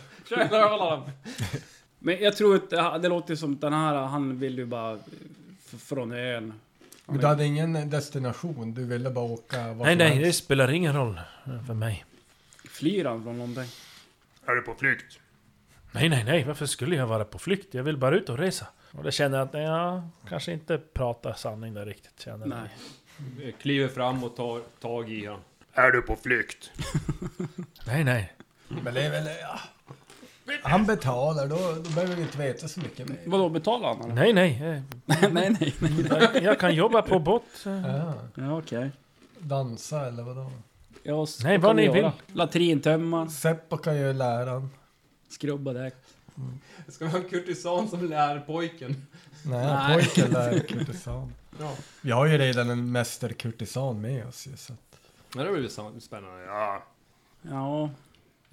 [SPEAKER 4] Men jag tror inte, det låter som den här, han vill ju bara f- från ön.
[SPEAKER 6] Men du hade ingen destination, du ville bara åka vart
[SPEAKER 3] Nej,
[SPEAKER 6] som
[SPEAKER 3] nej,
[SPEAKER 6] helst.
[SPEAKER 3] det spelar ingen roll eh, för mig.
[SPEAKER 4] Flyr han från någonting?
[SPEAKER 8] Är du på flykt?
[SPEAKER 3] Nej, nej, nej, varför skulle jag vara på flykt? Jag vill bara ut och resa. Och det känner jag att, nej, jag kanske inte pratar sanning där riktigt. Känner jag.
[SPEAKER 4] Nej.
[SPEAKER 7] Jag Kliver fram och tar tag i honom.
[SPEAKER 8] Är du på flykt?
[SPEAKER 3] nej, nej.
[SPEAKER 6] Men det är väl... Ja. Han betalar, då, då behöver vi inte veta så mycket mer.
[SPEAKER 4] Vadå, betalar han eller?
[SPEAKER 3] Nej, nej. eh,
[SPEAKER 4] [LAUGHS] nej, nej, nej.
[SPEAKER 3] Jag, jag kan jobba på båt. eh.
[SPEAKER 6] Ja,
[SPEAKER 4] Ja, okej.
[SPEAKER 6] dansa eller vadå?
[SPEAKER 4] Ja, så
[SPEAKER 3] Nej,
[SPEAKER 4] kan
[SPEAKER 3] vad
[SPEAKER 4] vi
[SPEAKER 3] ni
[SPEAKER 4] göra. Latrintömma,
[SPEAKER 6] Seppo kan ju lära han.
[SPEAKER 4] skrubba däck.
[SPEAKER 7] Ska vi ha en kurtisan som lär pojken?
[SPEAKER 6] Nej,
[SPEAKER 7] Nej.
[SPEAKER 6] pojken där kurtisan.
[SPEAKER 7] Ja.
[SPEAKER 6] Vi har ju redan en mästerkurtisan med oss ju, så att...
[SPEAKER 7] Men det blir så spännande.
[SPEAKER 8] Ja,
[SPEAKER 4] [LAUGHS] Ja,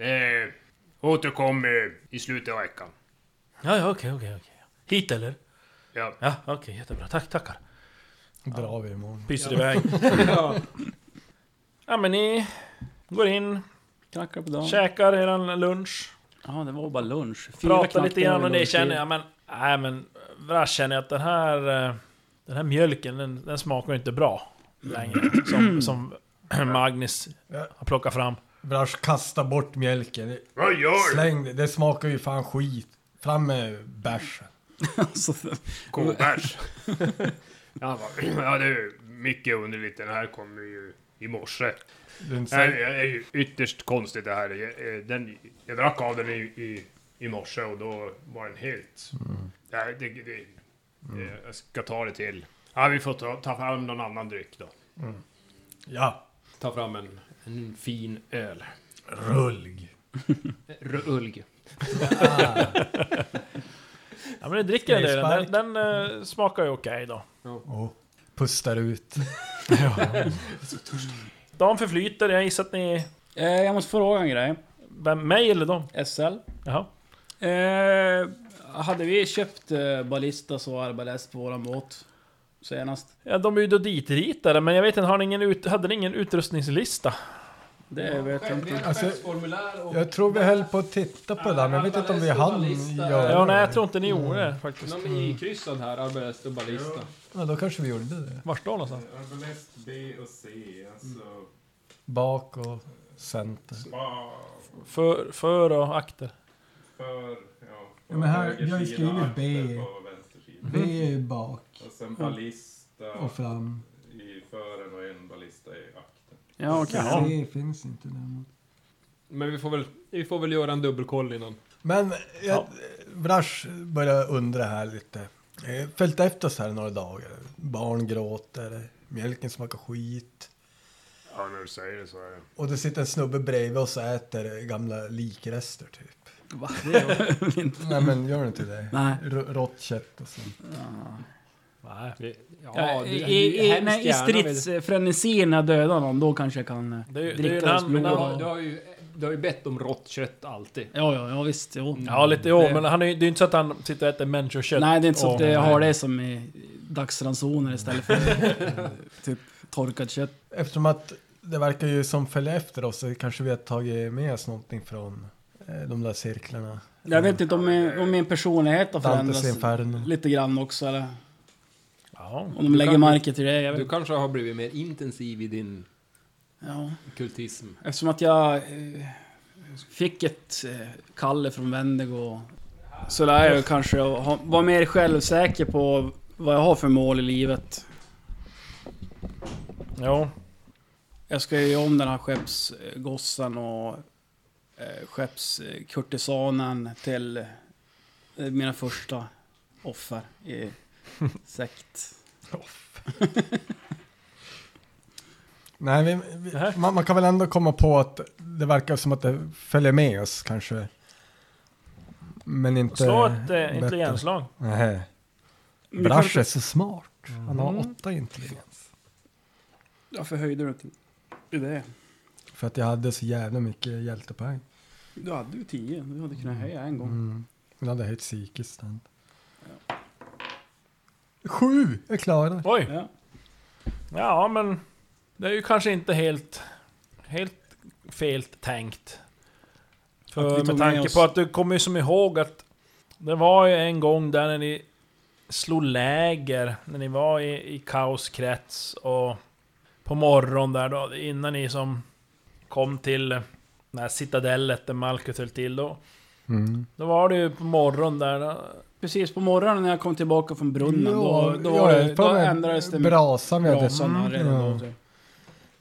[SPEAKER 8] eh, återkom eh, i slutet av veckan.
[SPEAKER 3] Ja, ja, okej, okej, okej. Hit eller?
[SPEAKER 8] Ja.
[SPEAKER 3] Ja, okej, jättebra. Tack, tackar.
[SPEAKER 6] drar vi imorgon.
[SPEAKER 3] Pyser iväg.
[SPEAKER 7] Ja.
[SPEAKER 3] Ja, men ni går in,
[SPEAKER 4] knackar på dörren.
[SPEAKER 3] käkar eran lunch,
[SPEAKER 4] Ja, det var bara lunch. Fyra
[SPEAKER 3] pratar
[SPEAKER 4] knackar
[SPEAKER 3] lite grann
[SPEAKER 4] över
[SPEAKER 3] och det
[SPEAKER 4] lunch.
[SPEAKER 3] känner
[SPEAKER 4] [LAUGHS]
[SPEAKER 3] jag, men... Nej, men... Vrash känner jag att den här... eh, Den här mjölken, den, den smakar ju inte bra längre. Som, som [CLEARS THROAT] Magnus har plockat fram.
[SPEAKER 6] Brash kasta bort mjölken.
[SPEAKER 8] Vad gör du?
[SPEAKER 6] Släng det. Det smakar ju fan skit. Fram med bärsen.
[SPEAKER 4] Så,
[SPEAKER 8] Kobärs. Han bara, [LAUGHS] [CLEARS THROAT] ja det är mycket underligt. Den här kommer ju i morse.
[SPEAKER 6] Den
[SPEAKER 8] Det här
[SPEAKER 6] säger-
[SPEAKER 8] är ju ytterst konstigt det här. Jag, eh, den, jag drack av den i, i, i morse och då var den helt... Nej, det, det, eh, Jag ska ta det till... Ja, vi får ta, ta fram någon annan dryck då.
[SPEAKER 6] Ja,
[SPEAKER 7] Ta fram en, en fin öl.
[SPEAKER 6] rulg.
[SPEAKER 7] Rulg.
[SPEAKER 3] Ja, men det dricker jag
[SPEAKER 6] Ska vi
[SPEAKER 3] den. Den, den eh, smakar ju okej då.
[SPEAKER 6] Och pustar ut.
[SPEAKER 3] Dagen förflyter, jag gissar att ni...
[SPEAKER 4] eh, jag måste fråga en grej.
[SPEAKER 3] Vem, mig eller dem?
[SPEAKER 4] SL.
[SPEAKER 3] Jaha.
[SPEAKER 4] Eh, hade vi köpt eh, ballistas och arbalest på våran båt senast?
[SPEAKER 3] Ja, de är ju då ditritade, men jag vet inte, har ni ingen ut, hade ni ingen utrustningslista?
[SPEAKER 4] Det vet jag inte.
[SPEAKER 6] Alltså,
[SPEAKER 7] Formulär och...
[SPEAKER 6] Jag tror vi höll på att titta på det där, men jag vet inte om vi hann göra
[SPEAKER 3] Ja, nej, jag
[SPEAKER 6] det.
[SPEAKER 3] tror inte ni gjorde det faktiskt.
[SPEAKER 7] De är ikryssad här, Arbelest och Ballista.
[SPEAKER 6] Ja, då kanske vi gjorde det.
[SPEAKER 3] Vart då någonstans?
[SPEAKER 9] Arbalest Alltså, B och C,
[SPEAKER 5] Mm.
[SPEAKER 9] alltså...
[SPEAKER 6] Bak och center.
[SPEAKER 9] Spa
[SPEAKER 3] För, för och akter.
[SPEAKER 9] för... Ja,
[SPEAKER 5] Ja, men här- vi har ju
[SPEAKER 9] högersida,
[SPEAKER 5] skrivit B. Mm.
[SPEAKER 9] akter På vänstersidan.
[SPEAKER 5] Vi är ju bak
[SPEAKER 9] Och sen ballista
[SPEAKER 5] och fram.
[SPEAKER 9] i fören och en ballista i akten.
[SPEAKER 4] Ja, okej.
[SPEAKER 5] C finns inte däremot.
[SPEAKER 7] Men vi får, väl, vi får väl göra en dubbelkoll innan.
[SPEAKER 6] Men jag, Brash börjar undra här lite. Eh, Följt efter oss här några dagar. Barn gråter, mjölken smakar skit.
[SPEAKER 8] Ja, när du säger det så är det...
[SPEAKER 6] Och det sitter en snubbe bredvid oss och äter gamla likrester typ.
[SPEAKER 4] Va?
[SPEAKER 6] [LAUGHS] Nej men gör inte det.
[SPEAKER 4] Nej.
[SPEAKER 6] R- rått kött och sånt.
[SPEAKER 3] Nej.
[SPEAKER 7] Ja,
[SPEAKER 4] I, i, i, nej, i stridsfrenesin när jag dödar någon, då kanske jag kan eh,
[SPEAKER 3] Det är ju- det är ju
[SPEAKER 4] dricka hans
[SPEAKER 3] en annan-
[SPEAKER 4] blod.
[SPEAKER 7] Du har, du, har ju, du har ju bett om rått kött alltid.
[SPEAKER 4] Ja, ja, ja visst. Jo.
[SPEAKER 3] Ja, lite jo, men han är, ju- det är ju inte så att han sitter och äter människokött.
[SPEAKER 4] Nej, det är inte så
[SPEAKER 3] Och-
[SPEAKER 4] att jag har det som i dagsransoner istället för eh, typ torkat kött.
[SPEAKER 6] Eftersom att det verkar ju som följer efter oss så kanske vi har tagit med oss någonting från eh, de där cirklarna.
[SPEAKER 4] Jag vet inte om min, om min personlighet har
[SPEAKER 6] Dantes
[SPEAKER 4] förändrats
[SPEAKER 6] Inferno.
[SPEAKER 4] lite grann också eller
[SPEAKER 3] Ja.
[SPEAKER 4] om de lägger
[SPEAKER 7] kan-
[SPEAKER 4] märke till det. Jag vet.
[SPEAKER 7] Du kanske har blivit mer intensiv i din
[SPEAKER 4] Ja.
[SPEAKER 7] kultism.
[SPEAKER 4] Eftersom att jag eh, fick ett eh, kalle från Wendigo och så lär jag ju kanske ha- vara mer självsäker på vad jag har för mål i livet.
[SPEAKER 3] Jo.
[SPEAKER 4] Jag ska ju göra om den här skeppsgossen och eh, skeppskurtisanen till eh, mina första offer i
[SPEAKER 6] [LAUGHS]
[SPEAKER 4] sekt.
[SPEAKER 6] Nej, vi, vi, man, man kan väl ändå komma på att det verkar som att det följer med oss kanske. Men inte...
[SPEAKER 3] Slå ett
[SPEAKER 6] bättre.
[SPEAKER 3] eh, Mm. intelligensslag.
[SPEAKER 6] Nej. Brash är så smart. Han har
[SPEAKER 3] Mm.
[SPEAKER 6] åtta intelligens.
[SPEAKER 4] Varför höjde du inte i det?
[SPEAKER 6] För att jag hade så jävla mycket hjältepoäng.
[SPEAKER 4] Du hade ju tio, du hade kunnat höja en gång.
[SPEAKER 6] Mm. Jag hade höjt psykiskt. den. Sju! Jag klarar
[SPEAKER 3] Oj!
[SPEAKER 4] Ja.
[SPEAKER 3] Ja, men... Det är ju kanske inte helt... Helt fel tänkt.
[SPEAKER 4] Att
[SPEAKER 3] För
[SPEAKER 4] vi tog
[SPEAKER 3] med
[SPEAKER 4] med
[SPEAKER 3] tanke
[SPEAKER 4] oss-
[SPEAKER 3] på att du kommer ju som ihåg att... Det var ju en gång där när ni slog läger, när ni var i, i kaoskrets och... På morgonen där då, innan ni som kom till det här citadellet där Malkus höll till då.
[SPEAKER 6] Mm.
[SPEAKER 3] Då var det ju på morgonen där...
[SPEAKER 4] Precis på morgonen när jag kom tillbaka från brunnen, då, då,
[SPEAKER 6] Ja,
[SPEAKER 4] var
[SPEAKER 6] jag
[SPEAKER 4] det,
[SPEAKER 6] är på
[SPEAKER 4] då
[SPEAKER 6] med
[SPEAKER 4] ändrades det
[SPEAKER 6] Brasan Mm, vi hade.
[SPEAKER 4] brasan redan då.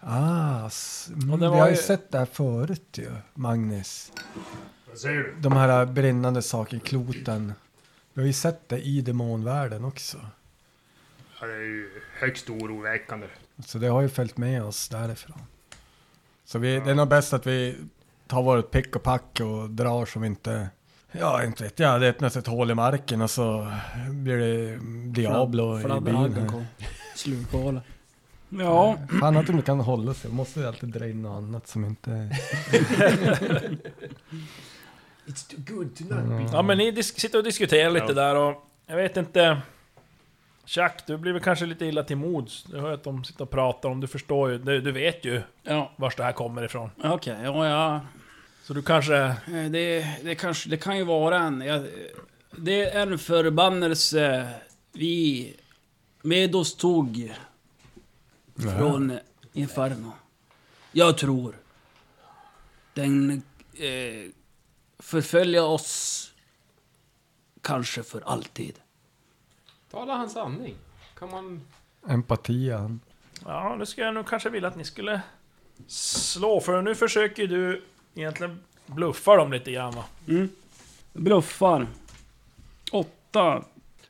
[SPEAKER 6] Ah, s-
[SPEAKER 3] Och
[SPEAKER 6] mm,
[SPEAKER 3] det
[SPEAKER 6] vi
[SPEAKER 3] var
[SPEAKER 6] har ju
[SPEAKER 3] ju-
[SPEAKER 6] sett det här förut ju, Magnus.
[SPEAKER 8] Vad säger du?
[SPEAKER 6] De här brinnande sakerna, kloten. Vi har ju sett det i demonvärlden också.
[SPEAKER 8] Ja, det är ju högst oroväckande.
[SPEAKER 6] Så det har ju följt med oss därifrån. Så vi, det är nog bäst att vi tar vårt pick och pack och drar som inte Ja, inte vet jag. Det öppnas ett hål i marken och så blir det Diablo i byn.
[SPEAKER 4] kom.
[SPEAKER 6] [LAUGHS]
[SPEAKER 4] Slukhåla.
[SPEAKER 3] Ja.
[SPEAKER 6] Fan att de inte kan hålla sig. Måste alltid dra in något annat som inte...
[SPEAKER 10] It's too good to not be...
[SPEAKER 3] Ja men ni dis- sitter och diskuterar lite
[SPEAKER 8] Ja.
[SPEAKER 3] där och... Jag vet inte... Jack, du blir väl kanske lite illa till mods. Du hör att de sitter och pratar om, du förstår ju, du, du vet ju
[SPEAKER 4] Ja,
[SPEAKER 3] vars det här kommer ifrån.
[SPEAKER 4] okej. Ja, ja.
[SPEAKER 3] Så du kanske...
[SPEAKER 4] Eh, Det, det, kanske, det kan ju vara en... Jag, det är en förbannelse vi med oss tog från Inferno. Jag tror. Den eh, förföljer oss kanske för alltid.
[SPEAKER 7] Tala hans sanning. Kan man...
[SPEAKER 6] Empati han.
[SPEAKER 3] Ja, nu skulle jag nog kanske vilja att ni skulle slå, för nu försöker ju du egentligen bluffa dem lite grann va?
[SPEAKER 4] Bluffar. Åtta.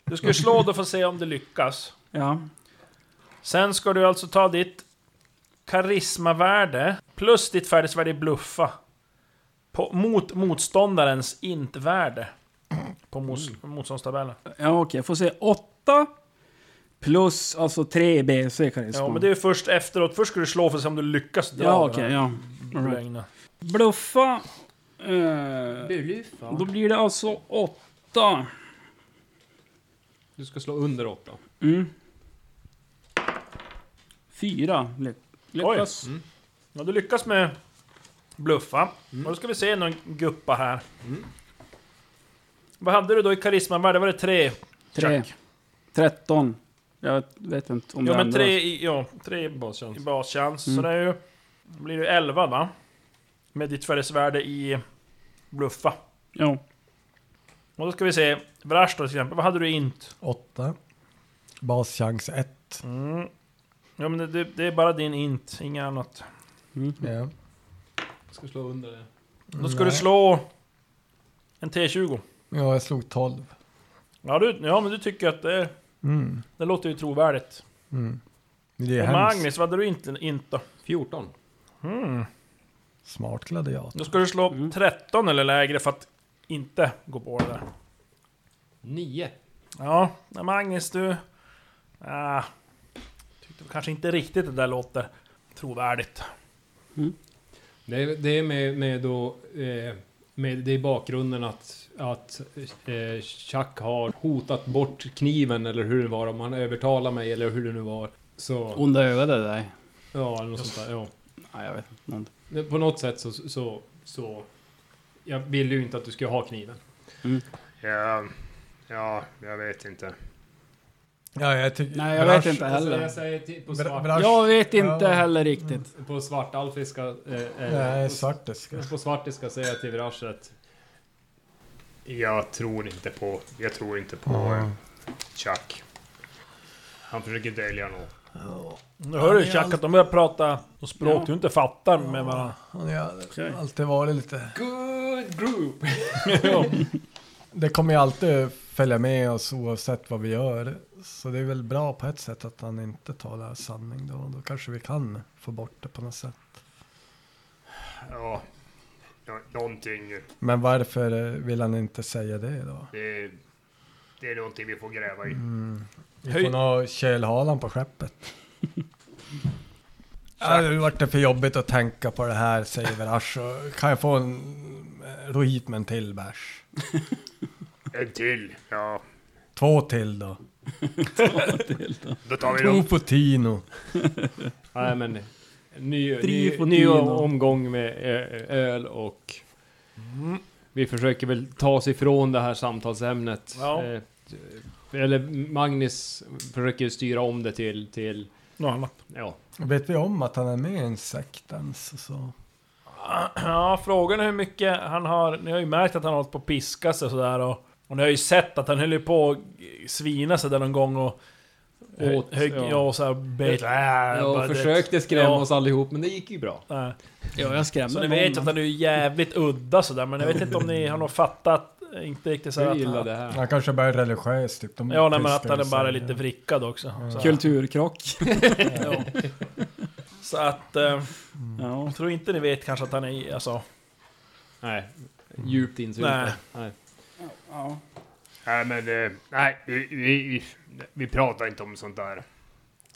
[SPEAKER 3] Du ska ju slå då för att se om det lyckas.
[SPEAKER 4] Ja.
[SPEAKER 3] Sen ska du alltså ta ditt karismavärde plus ditt färdighetsvärde i bluffa. På, mot motståndarens intvärde. På mos,
[SPEAKER 4] Mm.
[SPEAKER 3] motståndstabellen.
[SPEAKER 4] Ja, okej. Jag får se. Åtta. Plus alltså tre BC karisma.
[SPEAKER 3] Ja, men det är ju först efteråt. Först ska du slå för att se om du lyckas dra
[SPEAKER 4] Ja,
[SPEAKER 3] den
[SPEAKER 4] okej.
[SPEAKER 3] här
[SPEAKER 4] ja. All right.
[SPEAKER 3] lögnen.
[SPEAKER 4] Bluffa. Eh, då blir det alltså åtta.
[SPEAKER 7] Du ska slå under åtta.
[SPEAKER 4] Mm. Fyra. Ly- Lyckas.
[SPEAKER 3] Ja, du lyckas med bluffa.
[SPEAKER 4] Mm.
[SPEAKER 3] Och då ska vi se någon guppa här. Vad hade du då i karismavärde? Var det tre?
[SPEAKER 4] Tre.
[SPEAKER 3] Jack.
[SPEAKER 4] Tretton. Jag vet inte om
[SPEAKER 3] Ja,
[SPEAKER 4] det
[SPEAKER 3] men
[SPEAKER 4] ändras.
[SPEAKER 3] tre i, ja, tre i
[SPEAKER 7] Baschans.
[SPEAKER 3] i baschans. Så
[SPEAKER 4] Mm.
[SPEAKER 3] det är ju... Då blir det 11 va? Med ditt färdighetsvärde i bluffa.
[SPEAKER 4] Ja.
[SPEAKER 3] Och då ska vi se, Vrash då till exempel, vad hade du i int?
[SPEAKER 6] Åtta. Baschans ett.
[SPEAKER 3] Mm. Ja men det, det, det är bara din int, inget annat.
[SPEAKER 6] Ja.
[SPEAKER 7] Du ska slå under det.
[SPEAKER 3] Då ska du
[SPEAKER 6] Nej.
[SPEAKER 3] slå en T20.
[SPEAKER 6] Ja, jag slog tolv.
[SPEAKER 3] Ja, du, ja men du tycker att det,
[SPEAKER 6] Mm.
[SPEAKER 3] det låter ju trovärdigt.
[SPEAKER 6] Mm. Det är
[SPEAKER 3] Och
[SPEAKER 6] hemskt.
[SPEAKER 3] Magnus, vad hade du inte, inte då?
[SPEAKER 7] 14.
[SPEAKER 3] Mm.
[SPEAKER 6] Smart gladiator.
[SPEAKER 3] Då ska du slå
[SPEAKER 4] Mm.
[SPEAKER 3] 13 eller lägre för att inte gå på det där.
[SPEAKER 7] 9.
[SPEAKER 3] Ja, men Magnus du... Ah, tyckte kanske inte riktigt det där låter trovärdigt.
[SPEAKER 7] Det är, det är med, med då... Eh, med det i bakgrunden att, att eh, Chuck har hotat bort kniven eller hur det var, om han övertalade mig eller hur det nu var. Så,
[SPEAKER 4] Onda ögade dig.
[SPEAKER 7] ja, eller något sånt där. Ja.
[SPEAKER 4] Nej, jag vet inte. Någon-
[SPEAKER 7] Men På något sätt så, så, så... Jag ville ju inte att du skulle ha kniven.
[SPEAKER 8] Ja, ja, jag vet inte.
[SPEAKER 6] Ja, jag tycker...
[SPEAKER 4] Nej, jag vet inte
[SPEAKER 7] Alltså,
[SPEAKER 4] heller.
[SPEAKER 7] jag säger till, på,
[SPEAKER 6] Bra-
[SPEAKER 7] svart,
[SPEAKER 6] bra-
[SPEAKER 4] Jag vet inte
[SPEAKER 6] Ja.
[SPEAKER 4] heller riktigt.
[SPEAKER 7] på svartalfiska... Eh, eh,
[SPEAKER 6] Nej,
[SPEAKER 7] på-
[SPEAKER 6] svartiska.
[SPEAKER 7] På svartiska säger jag till Virash att
[SPEAKER 8] Jag tror inte på... Jag tror inte på eh, Chuck. Han försöker dölja något.
[SPEAKER 3] Nu hör du Chuck att de börjar prata och språk
[SPEAKER 4] Ja.
[SPEAKER 3] du inte fattar med varandra.
[SPEAKER 6] Han har alltid varit lite...
[SPEAKER 7] Good group!
[SPEAKER 6] Det kommer ju alltid följa med oss oavsett vad vi gör. Så det är väl bra på ett sätt att han inte talar sanning då. Då kanske vi kan få bort det på något sätt.
[SPEAKER 8] Ja, nå- någonting.
[SPEAKER 6] Men varför eh, vill han inte säga det då?
[SPEAKER 8] Det, det är någonting vi får gräva i.
[SPEAKER 6] Vi
[SPEAKER 3] Höj-
[SPEAKER 6] får nog ha kölhalan
[SPEAKER 3] [LAUGHS]
[SPEAKER 6] på skeppet. Ja, det vart det för jobbigt att tänka på det här, säger Verash. Och Kan jag få en... eh, Ro hit med en till bärs.
[SPEAKER 8] En till. Ja,
[SPEAKER 6] Två
[SPEAKER 3] [LAUGHS]
[SPEAKER 6] till då.
[SPEAKER 8] då tar vi
[SPEAKER 6] Två
[SPEAKER 8] dem.
[SPEAKER 6] Fotino.
[SPEAKER 7] Nej men... Ny, ny,
[SPEAKER 4] Trifotino.
[SPEAKER 7] ny omgång med ö- öl och...
[SPEAKER 3] Mm.
[SPEAKER 7] Vi försöker väl ta oss ifrån det här samtalsämnet.
[SPEAKER 3] Ja.
[SPEAKER 7] Eh, Eller Magnus försöker styra om det till... till
[SPEAKER 3] Något annat.
[SPEAKER 7] ja.
[SPEAKER 6] Vet vi om att han är med i en sekt ens? Så.
[SPEAKER 3] Ja, frågan är hur mycket han har... Ni har ju märkt att han har hållit på att piska sig och sådär och... Och ni har ju sett att han höll ju på att svina sig där någon gång och...
[SPEAKER 7] Åt,
[SPEAKER 3] hög,
[SPEAKER 7] ja.
[SPEAKER 3] ja. och såhär bet... äh,
[SPEAKER 7] Jag
[SPEAKER 3] bara det-
[SPEAKER 7] försökte skrämma
[SPEAKER 3] Ja.
[SPEAKER 7] oss allihop men det gick ju bra.
[SPEAKER 3] Nej.
[SPEAKER 4] Ja, jag skrämde
[SPEAKER 3] Så ni vet
[SPEAKER 4] någon.
[SPEAKER 3] att han är ju jävligt udda sådär, men jag vet inte om ni har nog fattat... Inte riktigt såhär
[SPEAKER 7] Jag
[SPEAKER 3] att
[SPEAKER 7] gillar
[SPEAKER 3] han...
[SPEAKER 7] det här.
[SPEAKER 6] Han kanske bara är religiös typ.
[SPEAKER 4] Mm,
[SPEAKER 6] De
[SPEAKER 3] Ja, nej, men att
[SPEAKER 6] piskar
[SPEAKER 3] han är
[SPEAKER 6] sig.
[SPEAKER 3] bara lite vrickad också. Så, här.
[SPEAKER 4] Kulturkrock.
[SPEAKER 3] Ja. Så att... Eh,
[SPEAKER 4] Ja.
[SPEAKER 3] jag tror inte ni vet kanske att han är... Alltså,
[SPEAKER 7] Nej. Djupt insyltad.
[SPEAKER 3] Nej.
[SPEAKER 7] Nej.
[SPEAKER 4] Ja.
[SPEAKER 8] Nej, men eh, nej, vi, vi, vi, vi pratar inte om sånt där.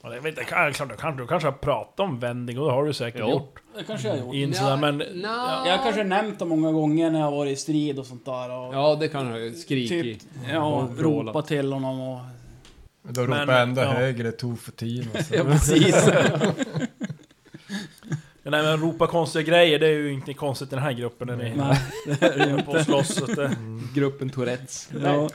[SPEAKER 3] Ja, det vet jag, kan- klart, du, kanske, du kanske har pratat om vändning och det har du säkert
[SPEAKER 8] Jo.
[SPEAKER 3] gjort.
[SPEAKER 4] Det kanske jag har gjort.
[SPEAKER 3] I en sån där, men...
[SPEAKER 4] Ja, Jag har kanske nämnt det många gånger när jag har varit i strid och sånt där. Och
[SPEAKER 7] Ja, det kan du. Skrikig.
[SPEAKER 4] Typ, ja,
[SPEAKER 7] Och vrålat.
[SPEAKER 4] ropa till honom och...
[SPEAKER 6] Då
[SPEAKER 3] Men,
[SPEAKER 6] ropar jag ändå
[SPEAKER 3] ja.
[SPEAKER 6] högre to för tio. och
[SPEAKER 4] [LAUGHS] [LAUGHS]
[SPEAKER 6] så.
[SPEAKER 4] Ja, precis.
[SPEAKER 3] Men nej men ropa konstiga grejer, det är ju inte konstigt i den här gruppen när ni
[SPEAKER 4] Nej, det är det ju
[SPEAKER 3] är [LAUGHS] på och
[SPEAKER 4] inte.
[SPEAKER 3] slåss. så att det-
[SPEAKER 7] Gruppen Tourettes.
[SPEAKER 4] Ja.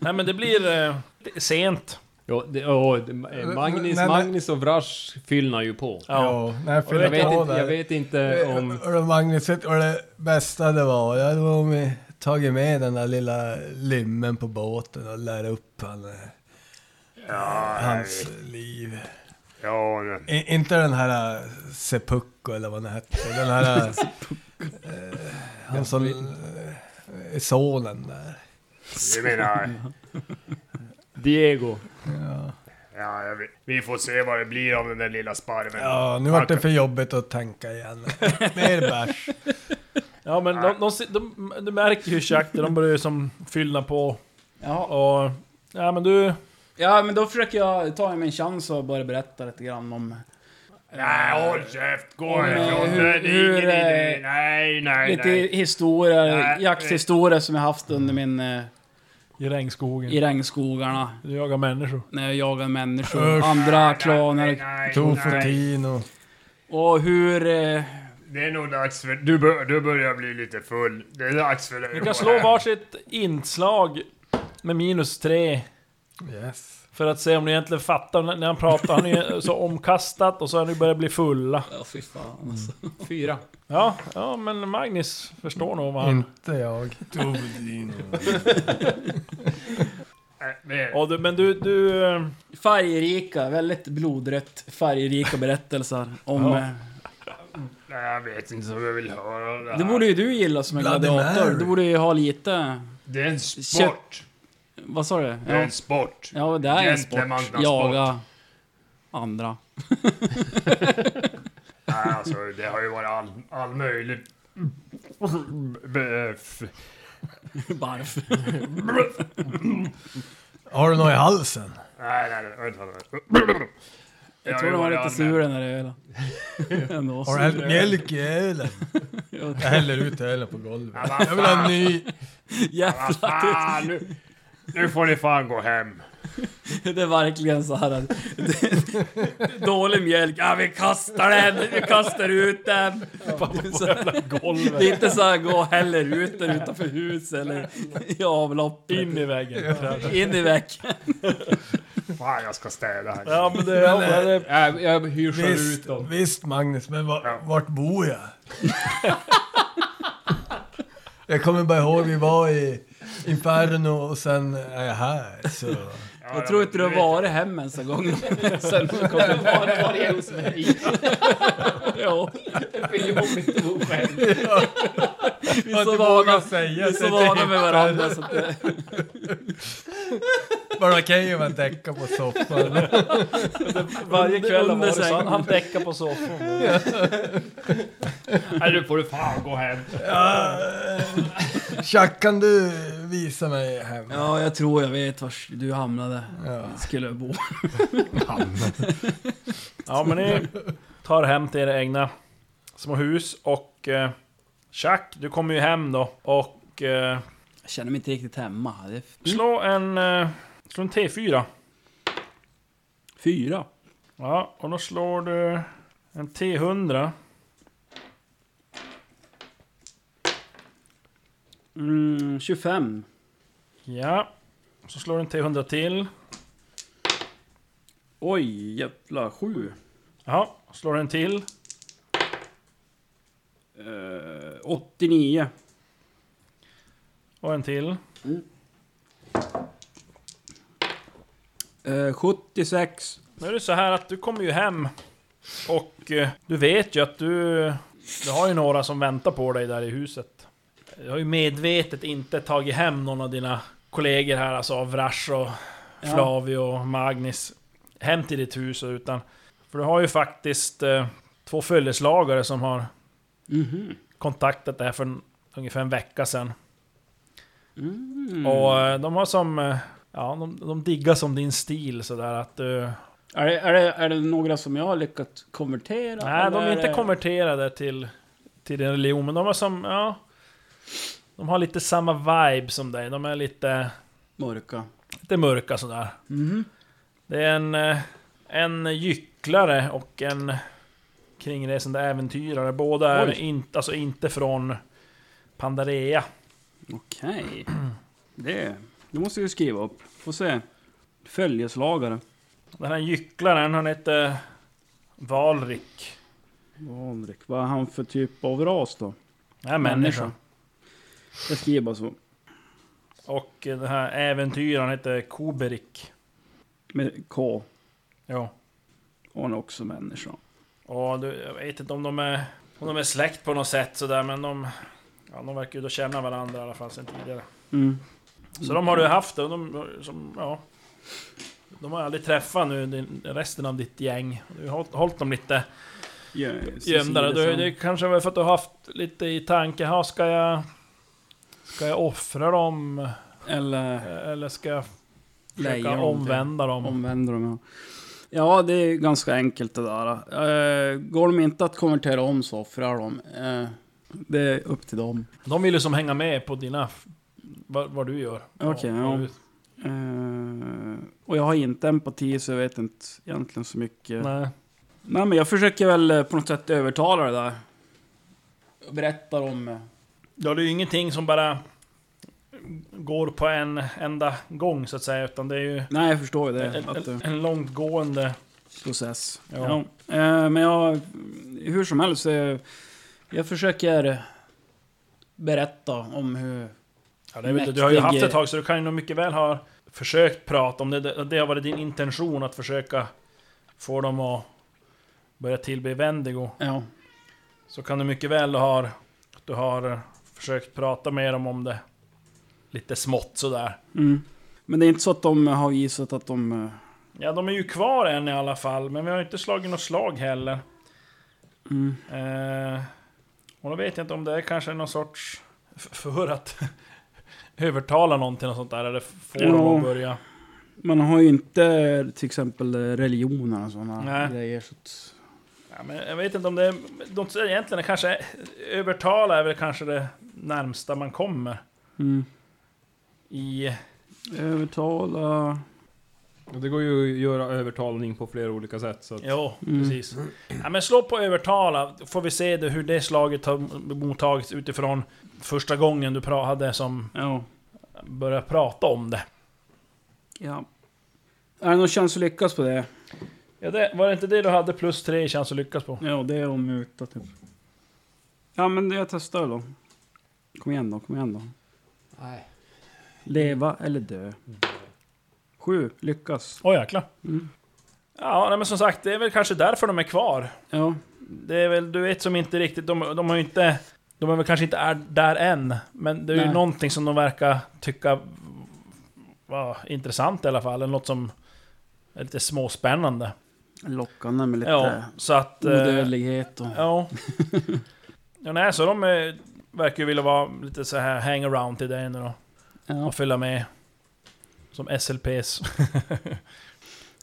[SPEAKER 3] Nej men det blir eh, det- sent.
[SPEAKER 7] Ja, det, åh, det- eh,
[SPEAKER 6] Nej,
[SPEAKER 7] Magnus,
[SPEAKER 6] nej.
[SPEAKER 7] Magnus och Vrash fyllnar ju på.
[SPEAKER 3] Ja.
[SPEAKER 6] Ja, nej,
[SPEAKER 7] Jag
[SPEAKER 6] fyller
[SPEAKER 7] vet,
[SPEAKER 6] på
[SPEAKER 7] inte,
[SPEAKER 6] där.
[SPEAKER 7] jag vet
[SPEAKER 8] Eh,
[SPEAKER 7] inte om...
[SPEAKER 6] Eh, Och- Och Magnus, vet du vad det bästa det var? Jag hade om vi tagit med den där lilla limmen på båten och lärt upp han, eh,
[SPEAKER 8] Ja,
[SPEAKER 6] hans liv.
[SPEAKER 8] ja, men-
[SPEAKER 6] I, inte den här eh, Seppucko eller vad den hette. Den här...
[SPEAKER 8] [LAUGHS]
[SPEAKER 6] eh, han som... eh, är sonen där.
[SPEAKER 8] jag menar...
[SPEAKER 7] Diego.
[SPEAKER 6] Ja,
[SPEAKER 8] Ja, jag vet. Vi får se vad det blir av den där lilla sparven.
[SPEAKER 6] ja nu vart det för jobbigt att tänka
[SPEAKER 8] [LAUGHS]
[SPEAKER 6] igen. Mer bärs.
[SPEAKER 3] Ja men de, de, si- de, du märker ju Shakti, de börjar ju som fyllna på
[SPEAKER 4] Ja.
[SPEAKER 3] och... Ja men du...
[SPEAKER 4] ja, men då försöker jag ta min chans och börja berätta lite grann om...
[SPEAKER 8] Nej, håll käft! Gå
[SPEAKER 4] Men
[SPEAKER 8] härifrån!
[SPEAKER 4] hur-
[SPEAKER 8] Det är
[SPEAKER 4] hur,
[SPEAKER 8] ingen idé!
[SPEAKER 4] eh,
[SPEAKER 8] Nej, nej,
[SPEAKER 4] Lite
[SPEAKER 8] nej.
[SPEAKER 4] historier,
[SPEAKER 8] Nej.
[SPEAKER 4] jakthistorier som jag haft under min... eh,
[SPEAKER 3] I regnskogen.
[SPEAKER 4] I regnskogarna.
[SPEAKER 3] Du jagar människor.
[SPEAKER 4] När jag jagade människor,
[SPEAKER 6] Usch.
[SPEAKER 4] andra
[SPEAKER 8] Nej,
[SPEAKER 4] klaner.
[SPEAKER 8] nej,
[SPEAKER 6] To
[SPEAKER 8] nej.
[SPEAKER 6] för tio och...
[SPEAKER 4] Och hur... Eh,
[SPEAKER 8] Det är nog dags för... Du, bör, du börjar bli lite full. Det är dags för dig
[SPEAKER 3] Du
[SPEAKER 8] att
[SPEAKER 3] kan
[SPEAKER 8] gå
[SPEAKER 3] slå
[SPEAKER 8] hem.
[SPEAKER 3] varsitt inslag med minus tre.
[SPEAKER 6] Yes.
[SPEAKER 3] För att se om ni egentligen fattar när när han pratar. Han
[SPEAKER 8] [LAUGHS]
[SPEAKER 3] är ju så omkastat och så har ni börjat bli fulla.
[SPEAKER 4] ja, fy fan alltså. [LAUGHS]
[SPEAKER 7] Fyra.
[SPEAKER 3] Ja, ja men Magnus förstår nog vad han...
[SPEAKER 8] Mm.
[SPEAKER 6] Inte jag. To för tio.
[SPEAKER 8] Nej, men-
[SPEAKER 3] Ja, du, men du, du... eh,
[SPEAKER 4] Färgrika, väldigt blodrött [LAUGHS] färgrika berättelser om...
[SPEAKER 3] Ja.
[SPEAKER 4] eh,
[SPEAKER 8] Nej, jag vet inte som jag vill höra det här.
[SPEAKER 4] Det borde ju du gilla som en
[SPEAKER 6] Bloody
[SPEAKER 4] gladiator.
[SPEAKER 6] Mary.
[SPEAKER 4] Du borde ju ha lite...
[SPEAKER 8] Det är en sport!
[SPEAKER 4] Vad sa du?
[SPEAKER 8] Det är
[SPEAKER 4] Ja,
[SPEAKER 8] en sport!
[SPEAKER 4] ja det är en sport.
[SPEAKER 8] Gentlemannasport.
[SPEAKER 4] Jaga andra. [LAUGHS]
[SPEAKER 8] Nej, alltså, det har ju varit all, all möjlig...
[SPEAKER 4] Barf.
[SPEAKER 6] Har du något i halsen?
[SPEAKER 8] Nej, nej, nej, vänta, vänta.
[SPEAKER 4] Jag
[SPEAKER 8] Ja,
[SPEAKER 4] tror
[SPEAKER 8] jo,
[SPEAKER 4] de var
[SPEAKER 8] det
[SPEAKER 4] lite
[SPEAKER 8] hade-
[SPEAKER 4] sura när det ölen. Ändå.
[SPEAKER 6] Har du hällt mjölk i
[SPEAKER 8] [LAUGHS]
[SPEAKER 6] ölen? Jag häller ut ölen på
[SPEAKER 8] Ja,
[SPEAKER 6] golvet.
[SPEAKER 8] vad
[SPEAKER 6] Jag vill ha en
[SPEAKER 7] [LAUGHS]
[SPEAKER 8] fan.
[SPEAKER 6] ny.
[SPEAKER 8] Vad
[SPEAKER 4] [LAUGHS] Jävlar,
[SPEAKER 8] fan, nu, nu får ni fan gå hem.
[SPEAKER 4] det är verkligen så här att... [LAUGHS] Dålig mjölk. Ja, vi kastar den! Vi kastar ut den! [LAUGHS] Så- Det är inte så här, gå och häller ut den utanför hus eller i avloppet.
[SPEAKER 3] In i väggen.
[SPEAKER 4] [LAUGHS] In i väcken.
[SPEAKER 8] Fan, jag ska städa här.
[SPEAKER 3] Ja, men det... Ja,
[SPEAKER 8] eh,
[SPEAKER 3] men det
[SPEAKER 7] Jag, jag hyr själv ut
[SPEAKER 6] Visst,
[SPEAKER 7] dem.
[SPEAKER 6] visst Magnus, men var,
[SPEAKER 8] Ja.
[SPEAKER 6] vart bor jag? jag kommer bara ihåg vi var i Inferno och sen är jag här. Så.
[SPEAKER 8] Ja,
[SPEAKER 4] Jag tror
[SPEAKER 8] men
[SPEAKER 4] inte du har
[SPEAKER 8] vet-
[SPEAKER 4] varit hem ens en gång. [LAUGHS] Sen du kom tillbaka.
[SPEAKER 10] Varje hos mig.
[SPEAKER 4] [LAUGHS] Ja,
[SPEAKER 10] Det blir jobbigt att bo själv.
[SPEAKER 4] Vi är så vana, vi
[SPEAKER 6] säga
[SPEAKER 4] är så vana med varandra så att eh, [LAUGHS] det,
[SPEAKER 6] Bara okej om jag däckar på soffan.
[SPEAKER 3] varje kväll har
[SPEAKER 4] under
[SPEAKER 3] varit så.
[SPEAKER 4] sängen.
[SPEAKER 3] Han, han däckar på
[SPEAKER 8] [LAUGHS]
[SPEAKER 3] soffan.
[SPEAKER 8] Nej, nu får du fan gå hem.
[SPEAKER 6] Tjack, kan du visa mig hem?
[SPEAKER 4] Ja, jag tror jag vet var du hamnade.
[SPEAKER 6] Ja.
[SPEAKER 4] Skulle jag bo.
[SPEAKER 3] Ja, men ni tar hem till era egna små hus och... Eh, Chuck, du kommer ju hem då och... Eh,
[SPEAKER 4] Jag känner mig inte riktigt hemma. Det är f-
[SPEAKER 3] slå en... Eh, slå en T4.
[SPEAKER 4] fyra.
[SPEAKER 3] Ja, och då slår du en T100.
[SPEAKER 4] Mm, 25.
[SPEAKER 3] Ja. Så slår du en T100 till.
[SPEAKER 4] Oj, jävla sju.
[SPEAKER 3] Ja, slår du en till.
[SPEAKER 4] Eh, 89.
[SPEAKER 3] Och en till.
[SPEAKER 4] Eh, 76.
[SPEAKER 3] Nu är det så här att du kommer ju hem och eh, du vet ju att du... Du har ju några som väntar på dig där i huset. Du har ju medvetet inte tagit hem någon av dina kollegor här, alltså av Vrash och
[SPEAKER 4] Ja.
[SPEAKER 3] Flavio och Magnus hem till ditt hus utan... För du har ju faktiskt eh, två följeslagare som har
[SPEAKER 4] Mhm.
[SPEAKER 3] kontaktat det här för en, ungefär en vecka sedan.
[SPEAKER 4] Mm.
[SPEAKER 3] Och eh, de har som... eh, Ja, de, de diggar som din stil sådär att eh, du...
[SPEAKER 4] Är det, är, det, är det några som jag har lyckats konvertera?
[SPEAKER 3] Nej, de är
[SPEAKER 4] eller
[SPEAKER 3] inte
[SPEAKER 4] det-
[SPEAKER 3] konverterade till, till din religion, men de har som... Ja, de har lite samma vibe som dig. De är lite...
[SPEAKER 4] Mörka.
[SPEAKER 3] Lite mörka sådär.
[SPEAKER 4] Mhm.
[SPEAKER 3] Det är en, eh, en gycklare och en kringresande äventyrare. Båda är
[SPEAKER 4] Oj.
[SPEAKER 3] inte, alltså inte från Pandarea.
[SPEAKER 4] Okej. Det, det måste vi skriva upp. Får se. Följeslagare.
[SPEAKER 3] Den här gycklaren, han heter Valrik.
[SPEAKER 4] Vanrik. Vad är han för typ av ras då?
[SPEAKER 3] Nej, människa.
[SPEAKER 4] Jag skriver bara så.
[SPEAKER 3] Och eh, den här äventyraren heter Koberik.
[SPEAKER 4] Med K.
[SPEAKER 3] Ja.
[SPEAKER 4] Och han är också människa.
[SPEAKER 3] Ja, du, jag vet inte om de är, om de är släkt på något sätt sådär, men de... Ja, de verkar ju då känna varandra i alla fall sen tidigare.
[SPEAKER 4] Mm.
[SPEAKER 3] Så de har du haft och de, som, ja, de har jag aldrig träffat nu, din, resten av ditt gäng. Du har hållit, hållit dem lite
[SPEAKER 4] Ja,
[SPEAKER 3] gömda.
[SPEAKER 4] Cecilia
[SPEAKER 3] Du,
[SPEAKER 4] som-
[SPEAKER 3] det kanske var för att du har haft lite i tanke, här ska jag... Ska jag offra dem?
[SPEAKER 4] Eller
[SPEAKER 3] Eller ska jag
[SPEAKER 4] Leja
[SPEAKER 3] försöka
[SPEAKER 4] dem till-
[SPEAKER 3] omvända dem?
[SPEAKER 4] omvänder dem ja. Ja, det är ganska enkelt det där. Eh, går de inte att konvertera om så offrar de. Eh, det är upp till dem.
[SPEAKER 3] De vill ju som hänga med på dina... Vad, vad du gör.
[SPEAKER 4] Okej,
[SPEAKER 3] Ja,
[SPEAKER 4] ja.
[SPEAKER 3] vad du-
[SPEAKER 4] Eh, och jag har inte empati så jag vet inte egentligen så mycket. Nej,
[SPEAKER 3] Nej.
[SPEAKER 4] men jag försöker väl eh, på något sätt övertala det där. Jag Berättar om... eh,
[SPEAKER 3] Ja, det är ju ingenting som bara går på en enda gång så att säga, utan det är ju
[SPEAKER 4] Nej, jag förstår ju det.
[SPEAKER 3] en,
[SPEAKER 4] att, eh,
[SPEAKER 3] en, en långtgående...
[SPEAKER 4] process. Ja.
[SPEAKER 3] Ja.
[SPEAKER 4] Eh, men jag, hur som helst, eh, jag försöker berätta om hur...
[SPEAKER 3] Ja, det är väl, du har ju
[SPEAKER 4] mäktig-
[SPEAKER 3] haft ett tag, så du kan ju nog mycket väl ha försökt prata om det. det. Det har varit din intention att försöka få dem att börja tillbe Vendigo.
[SPEAKER 4] Ja,
[SPEAKER 3] Så kan du mycket väl ha... Du har försökt prata med dem om det. Lite smått sådär.
[SPEAKER 4] mm. Men det är inte så att de har visat att de... eh,
[SPEAKER 3] Ja, de är ju kvar än i alla fall, men vi har ju inte slagit något slag heller.
[SPEAKER 4] Mm.
[SPEAKER 3] Eh, och då vet jag inte om det är kanske någon sorts... f- För att [LAUGHS] övertala någon till något sånt där, eller få
[SPEAKER 4] Ja.
[SPEAKER 3] dem att börja.
[SPEAKER 4] Man har ju inte till exempel eh, religioner och sådana
[SPEAKER 3] Nej.
[SPEAKER 4] grejer. Så att,
[SPEAKER 3] Ja, men jag vet inte om det är... De, säger egentligen är kanske... Övertala är väl kanske det närmsta man kommer
[SPEAKER 4] mm.
[SPEAKER 3] i...
[SPEAKER 4] Övertala...
[SPEAKER 7] Och Det går ju att göra övertalning på flera olika sätt. Så att,
[SPEAKER 3] Jo,
[SPEAKER 4] Mm.
[SPEAKER 3] precis. Ja, men slå på övertala, får vi se det, hur det slaget har mottagits utifrån första gången du pra- hade som
[SPEAKER 4] Ja.
[SPEAKER 3] började prata om det.
[SPEAKER 4] ja. Är det någon chans att lyckas på det?
[SPEAKER 3] Ja, det, var det inte det du hade plus tre i chans att lyckas på?
[SPEAKER 4] Ja, det är om muta typ. Ja, men jag testar då. Kom igen då, kom igen då.
[SPEAKER 7] Nej.
[SPEAKER 4] Leva eller dö. Sju, lyckas.
[SPEAKER 3] Åh oh, jäklar.
[SPEAKER 4] Mm.
[SPEAKER 3] Ja, nej, men som sagt, det är väl kanske därför de är kvar.
[SPEAKER 4] Ja,
[SPEAKER 3] Det är väl, du vet som inte riktigt, de, de har ju inte... De är väl kanske inte är där än, men det är ju
[SPEAKER 4] Nej.
[SPEAKER 3] någonting som de verkar tycka var intressant i alla fall, eller något som är lite småspännande.
[SPEAKER 4] lockande med lite
[SPEAKER 3] Ja, så att... eh,
[SPEAKER 4] odödlighet och... [LAUGHS]
[SPEAKER 3] Ja. ja nej, så de eh, verkar ju vilja vara lite så här hangaround till dig nu då.
[SPEAKER 4] Ja.
[SPEAKER 3] Och fylla med. Som SLPs.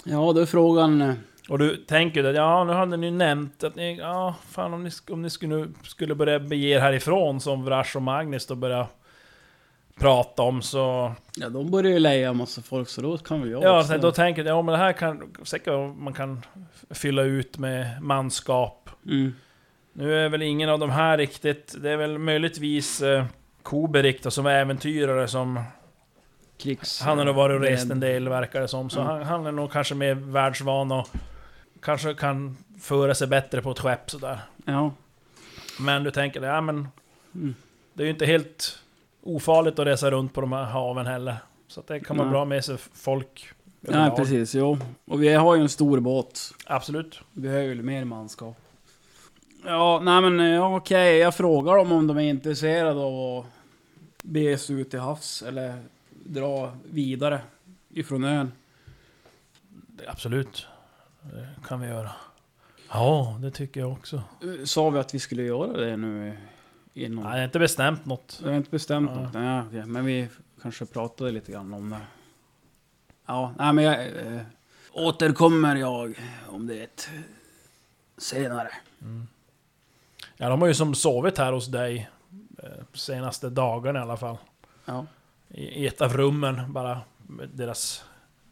[SPEAKER 4] ja, då är frågan... eh,
[SPEAKER 3] Och du tänker att ja, nu hade ni ju nämnt att ni, ja, fan om ni, sk- om ni skulle, skulle börja bege er härifrån som Vrash och Magnus då börja prata om så...
[SPEAKER 4] Ja, de börjar ju leja en massa folk så då kan väl jag
[SPEAKER 3] Ja,
[SPEAKER 4] också.
[SPEAKER 3] så då tänker jag ja men det här kan, säkert man kan f- fylla ut med manskap.
[SPEAKER 4] Mm.
[SPEAKER 3] Nu är väl ingen av de här riktigt, det är väl möjligtvis eh, Koberik då, som är äventyrare som...
[SPEAKER 4] Krigs...
[SPEAKER 3] Han har nog varit och
[SPEAKER 4] Det-
[SPEAKER 3] rest en del verkar det som, så
[SPEAKER 4] Mm.
[SPEAKER 3] han, han är nog kanske mer världsvan och kanske kan föra sig bättre på ett skepp sådär.
[SPEAKER 4] Ja.
[SPEAKER 3] Men du tänker, ja men...
[SPEAKER 4] Mm.
[SPEAKER 3] Det är ju inte helt ofarligt att resa runt på de här haven heller. Så att det kan vara
[SPEAKER 4] Nej.
[SPEAKER 3] bra med sig folk.
[SPEAKER 4] Nej,
[SPEAKER 3] överlag.
[SPEAKER 4] precis. Jo. Och vi har ju en stor båt.
[SPEAKER 3] Absolut.
[SPEAKER 4] Vi behöver ju mer manskap. Ja, nej men eh, okej. Jag frågar dem om de är intresserade av att bege sig ut till havs eller dra vidare ifrån ön.
[SPEAKER 3] Det- Absolut. Det kan vi göra. Ja, det tycker jag också.
[SPEAKER 4] Eh, Sa vi att vi skulle göra det nu? i någon...
[SPEAKER 3] Nej, det är inte bestämt något.
[SPEAKER 4] Det är inte bestämt
[SPEAKER 3] Ja.
[SPEAKER 4] något. Nej, okej. men vi kanske pratade lite grann om det. Ja, nej men jag... Eh, återkommer jag om det senare.
[SPEAKER 3] Ja, de har ju som sovit här hos dig eh, senaste dagarna i alla fall.
[SPEAKER 4] Ja.
[SPEAKER 3] I i ett av rummen bara. med Deras...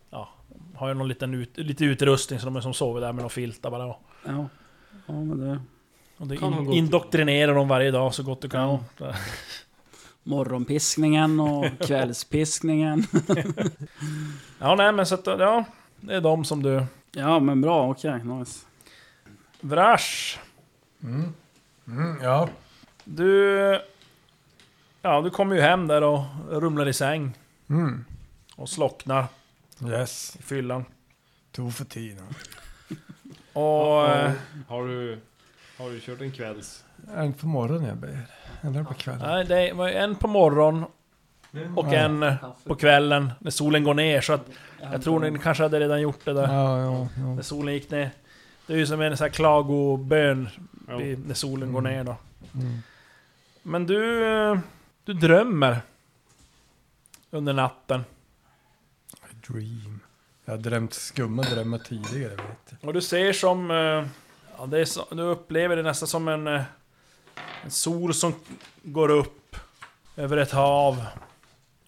[SPEAKER 3] Ja, de har ju någon liten ut, lite utrustning så de är som sover där med någon filtar bara. Och
[SPEAKER 4] Ja, ja men det...
[SPEAKER 3] det
[SPEAKER 4] Kan de
[SPEAKER 3] in,
[SPEAKER 4] gå-
[SPEAKER 3] indoktrinerar dem varje dag så gott du kan. [LAUGHS]
[SPEAKER 4] Morgonpiskningen och kvällspiskningen.
[SPEAKER 3] Ja, nej men så att, ja. Det är de som du...
[SPEAKER 4] Ja, men bra, okej, nice.
[SPEAKER 3] Vrash!
[SPEAKER 6] Mm. Mm, ja.
[SPEAKER 3] Du... Ja, du kommer ju hem där och rumlar i säng.
[SPEAKER 6] Mm.
[SPEAKER 3] Och slocknar
[SPEAKER 6] Yes.
[SPEAKER 3] i fyllan.
[SPEAKER 6] Tog för tiden.
[SPEAKER 3] Och... eh,
[SPEAKER 7] Har du, har du kört en kvälls?
[SPEAKER 6] En på morgonen jag ber. En där på kvällen.
[SPEAKER 3] Nej, det var ju en på morgon och
[SPEAKER 6] Ja.
[SPEAKER 3] en eh, på kvällen när solen går ner. Så att jag tror ni kanske hade redan gjort det där
[SPEAKER 6] Ja, ja, ja.
[SPEAKER 3] när solen gick ner. Det är ju som en sån här klagobön i- när solen går ner då.
[SPEAKER 6] Mm.
[SPEAKER 3] Men du... eh, Du drömmer. Under natten.
[SPEAKER 6] A dream. Jag har drömt skumma drömmar tidigare vet du.
[SPEAKER 3] Och du ser som... eh, Ja, det är så, du upplever det nästan som en, eh, en sol som går upp över ett hav.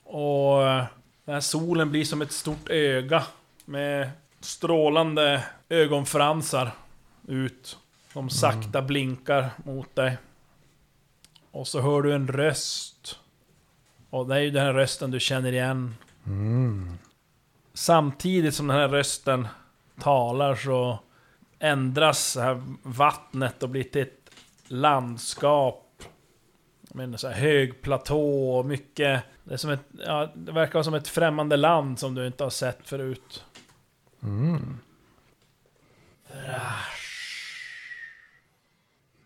[SPEAKER 3] Och eh, den här solen blir som ett stort öga med strålande ögonfransar ut. Som sakta blinkar mot dig. Och så hör du en röst. Och det är ju den här rösten du känner igen.
[SPEAKER 6] Mm.
[SPEAKER 3] Samtidigt som den här rösten talar så ändras det här vattnet och blir till ett landskap. Med en så här hög platå och mycket... Det, är som ett, ja, det verkar vara som ett främmande land som du inte har sett förut.
[SPEAKER 6] Mm.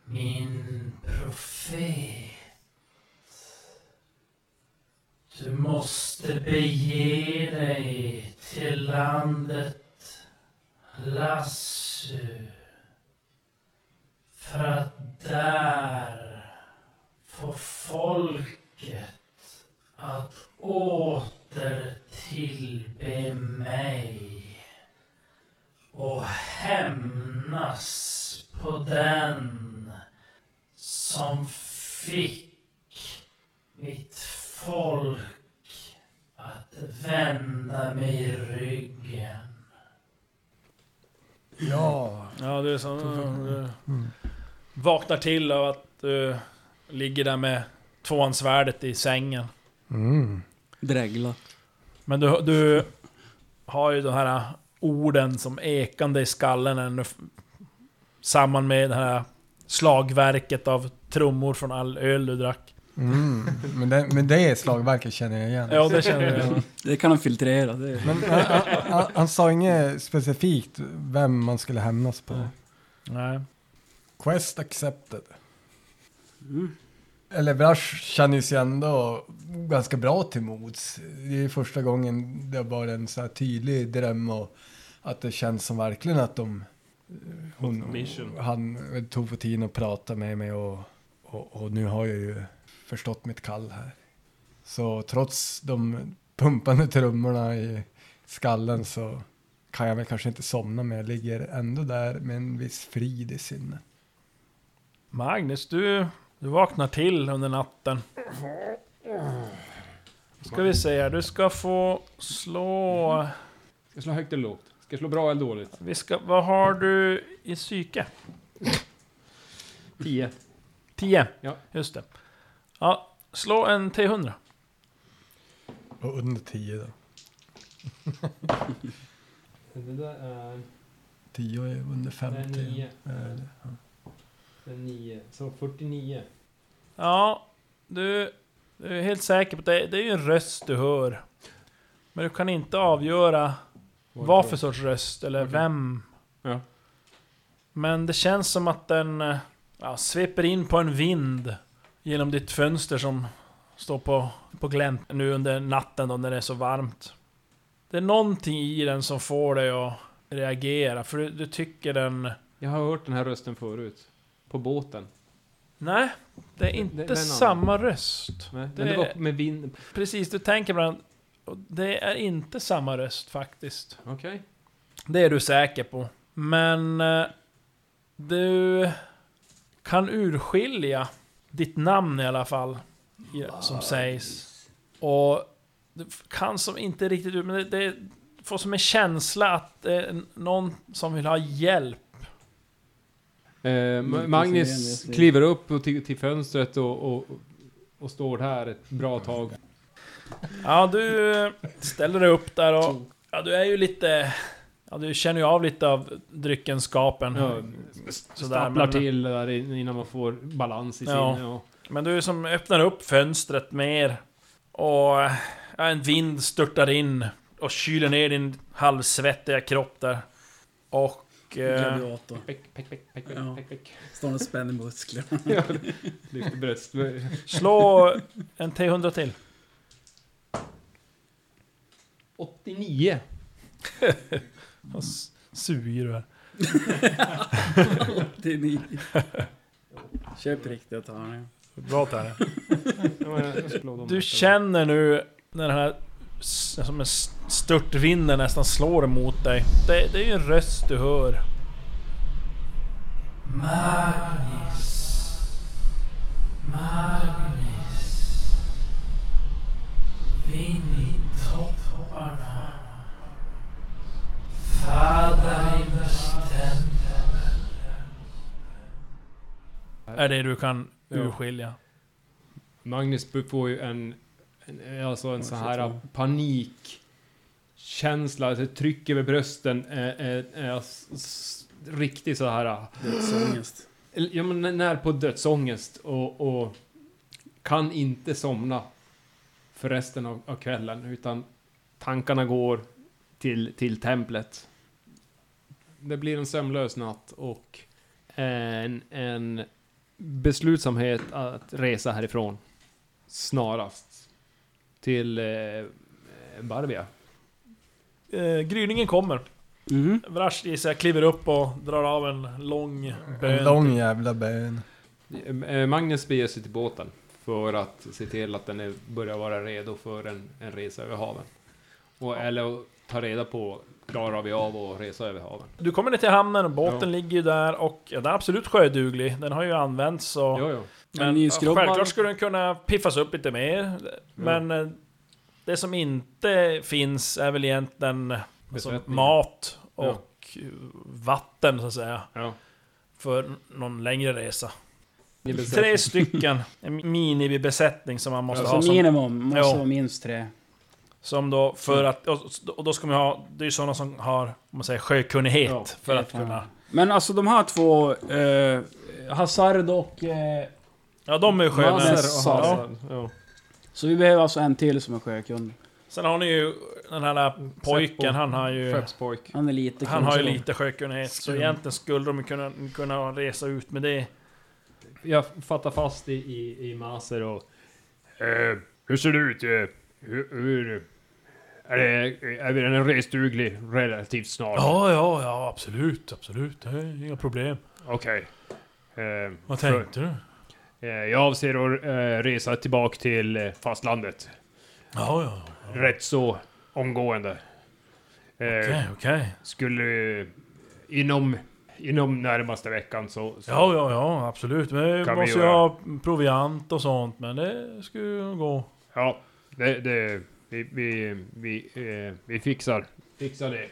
[SPEAKER 3] Min profet. Du måste bege dig till landet Lassu. För att där få folket att åter tillbe mig och hämnas på den som fick mitt folk att vända mig ryggen.
[SPEAKER 6] Ja.
[SPEAKER 3] Ja, du är så... Du vaknar till av att du ligger där med tvåansvärdet i sängen.
[SPEAKER 6] Mm.
[SPEAKER 4] Dregla.
[SPEAKER 3] Men du, du har ju de här orden som ekande i skallen ännu f- samman med det här slagverket av trummor från all öl du drack.
[SPEAKER 6] Mm. Men, det, men det slagverket känner jag igen.
[SPEAKER 3] Ja, det känner jag.
[SPEAKER 4] Det kan de filtrera. Det är...
[SPEAKER 6] Men han, han, han, han sa inget specifikt vem man skulle hämnas på.
[SPEAKER 3] Nej.
[SPEAKER 6] Quest accepted. Eller Brash känner sig ändå ganska bra till mods. Det är första gången det har varit en så här tydlig dröm och att det känns som verkligen att de... Hon,
[SPEAKER 7] Mission.
[SPEAKER 6] han tog på tiden att prata med mig och, och, och nu har jag ju förstått mitt kall här. Så trots de pumpande trummorna i skallen så kan jag väl kanske inte somna men jag ligger ändå där med en viss frid i sinnet.
[SPEAKER 3] Magnus, du, du vaknar till under natten. Ska vi se här, du ska få slå...
[SPEAKER 7] Ska jag slå högt eller lågt? Ska jag slå bra eller dåligt?
[SPEAKER 3] Vi ska, vad har du i psyke?
[SPEAKER 7] 10.
[SPEAKER 3] 10?
[SPEAKER 7] Ja.
[SPEAKER 3] Just det. Ja, slå en T100.
[SPEAKER 6] Och under 10 då.
[SPEAKER 7] Det där är...
[SPEAKER 6] 10 är under 50.
[SPEAKER 7] Det är nio.
[SPEAKER 6] Eh,
[SPEAKER 7] Det är 9. Så 49.
[SPEAKER 3] Ja, du, du är helt säker på att det, det är ju en röst du hör. Men du kan inte avgöra vad för sorts röst eller
[SPEAKER 7] Okej.
[SPEAKER 3] vem.
[SPEAKER 7] Ja.
[SPEAKER 3] Men det känns som att den eh, ja, sveper in på en vind genom ditt fönster som står på, på glänt nu under natten då när det är så varmt. Det är någonting i den som får dig att reagera, för du, du tycker den...
[SPEAKER 7] Jag har hört den här rösten förut. På båten.
[SPEAKER 3] Nej, det är inte
[SPEAKER 7] det är en annan.
[SPEAKER 3] samma röst.
[SPEAKER 7] Nej,
[SPEAKER 3] Det
[SPEAKER 7] men det var
[SPEAKER 3] är-
[SPEAKER 7] med vind...
[SPEAKER 3] Precis, du tänker ibland... och Det är inte samma röst faktiskt.
[SPEAKER 7] Okej.
[SPEAKER 3] Det är du säker på. Men... eh, Du kan urskilja ditt namn i alla fall. i- Som sägs. Och du f- kan som inte riktigt ut, men det, det får som en känsla att det är någon som vill ha hjälp.
[SPEAKER 7] Eh, Ma- Magnus kliver upp och till, till fönstret och, och, och står här ett bra tag.
[SPEAKER 3] Ja, du eh, ställer dig upp där och... Ja, du är ju lite... Ja, du känner ju av lite av dryckenskapen.
[SPEAKER 7] Ja, Stapplar
[SPEAKER 3] men-
[SPEAKER 7] till där in- innan man får balans i
[SPEAKER 3] Ja.
[SPEAKER 7] sinne. Ja.
[SPEAKER 3] Men du som öppnar upp fönstret mer och eh, en vind störtar in och kyler ner din halvsvettiga kropp där. Och... Eh,
[SPEAKER 4] Gladiator.
[SPEAKER 7] Peck, peck, peck, peck, peck,
[SPEAKER 4] Ja.
[SPEAKER 7] peck, peck.
[SPEAKER 4] Står och spänner muskler.
[SPEAKER 3] [LAUGHS]
[SPEAKER 7] Lyfter bröst.
[SPEAKER 3] slå en T100 till.
[SPEAKER 7] 89.
[SPEAKER 3] Vad s- suger du här.
[SPEAKER 4] Det är ni. Köp riktigt här
[SPEAKER 3] Bra Terje.
[SPEAKER 7] Ja, men jag ska låna dem
[SPEAKER 3] Du
[SPEAKER 7] här.
[SPEAKER 3] känner nu när den här s- som en störtvinden nästan slår emot dig. Det, det är ju en röst du hör. Är det du kan
[SPEAKER 7] Ja.
[SPEAKER 3] urskilja.
[SPEAKER 7] Magnus får ju en, en alltså en sån här panikkänsla, alltså ett tryck över brösten. Eh, eh, eh, s- s- riktig så här... eh,
[SPEAKER 4] Dödsångest.
[SPEAKER 7] Eller, Ja, men nä- när på dödsångest och, och kan inte somna för resten av, av kvällen utan tankarna går till, till templet. Det blir en sömnlös natt och en, en beslutsamhet att resa härifrån snarast till eh, Barbia.
[SPEAKER 3] Eh, gryningen kommer. Mm-hmm.
[SPEAKER 4] Mm.
[SPEAKER 3] Vrash gissar jag kliver upp och drar av en lång bön.
[SPEAKER 6] En lång jävla bön.
[SPEAKER 7] Eh, Magnus beger sig till båten för att se till att den är, börjar vara redo för en, en resa över haven. Och, Eller att ta reda på, klarar vi av att resa över haven?
[SPEAKER 3] Du kommer ner till hamnen och båten ligger ju där och ja, den är absolut sjöduglig. Den har ju använts så...
[SPEAKER 7] Jo, jo.
[SPEAKER 3] Men
[SPEAKER 4] Ny
[SPEAKER 3] ja,
[SPEAKER 4] skrubb.
[SPEAKER 3] självklart skulle den kunna piffas upp lite mer. Men eh, det som inte finns är väl egentligen alltså,
[SPEAKER 7] Besättningen.
[SPEAKER 3] mat
[SPEAKER 7] Ja.
[SPEAKER 3] och eh, vatten så att säga.
[SPEAKER 7] Ja.
[SPEAKER 3] För någon längre resa.
[SPEAKER 7] Ni besätter-
[SPEAKER 3] Tre stycken, en minibesättning som man måste
[SPEAKER 4] Alltså
[SPEAKER 3] ha som
[SPEAKER 4] minimum måste
[SPEAKER 3] Ja.
[SPEAKER 4] vara minst tre.
[SPEAKER 3] Som då för att, och och då ska man ha, det är ju sådana som har, om man säger sjökunnighet
[SPEAKER 7] Ja,
[SPEAKER 3] för att kunna...
[SPEAKER 4] Men alltså de här två, eh, Hazard och... Eh,
[SPEAKER 3] Ja, de är ju sjömän.
[SPEAKER 7] Maser
[SPEAKER 4] Massa.
[SPEAKER 7] och halsar. Ja.
[SPEAKER 4] så vi behöver alltså en till som är sjökund.
[SPEAKER 3] Sen har ni ju den här där pojken, han har ju...
[SPEAKER 7] Skeppspojk.
[SPEAKER 4] Han är lite
[SPEAKER 3] Han har ju
[SPEAKER 4] kunskap.
[SPEAKER 3] lite sjökunnighet, så
[SPEAKER 4] Skum.
[SPEAKER 3] egentligen skulle de ju kunna, kunna resa ut med det.
[SPEAKER 7] Jag fattar fast i, i, i Maser och...
[SPEAKER 8] Eh, hur ser det ut? Eh, hur, hur, är, det, är den resduglig relativt snart?
[SPEAKER 3] ja, ja, absolut, absolut. Det är inga problem.
[SPEAKER 8] Okej. Eh,
[SPEAKER 3] Vad
[SPEAKER 8] för-
[SPEAKER 3] du?
[SPEAKER 8] eh, jag avser att eh, resa tillbaka till eh, fastlandet.
[SPEAKER 3] Ja, ja.
[SPEAKER 8] Rätt så omgående. Eh,
[SPEAKER 3] okej.
[SPEAKER 8] Skulle... eh, Inom, inom närmaste veckan så... så
[SPEAKER 3] ja, ja, absolut. Men
[SPEAKER 8] Kan vi måste ju göra. ha
[SPEAKER 3] proviant och sånt, men det skulle gå.
[SPEAKER 8] Ja, det, det, vi, vi, vi, eh, vi fixar. fixar det.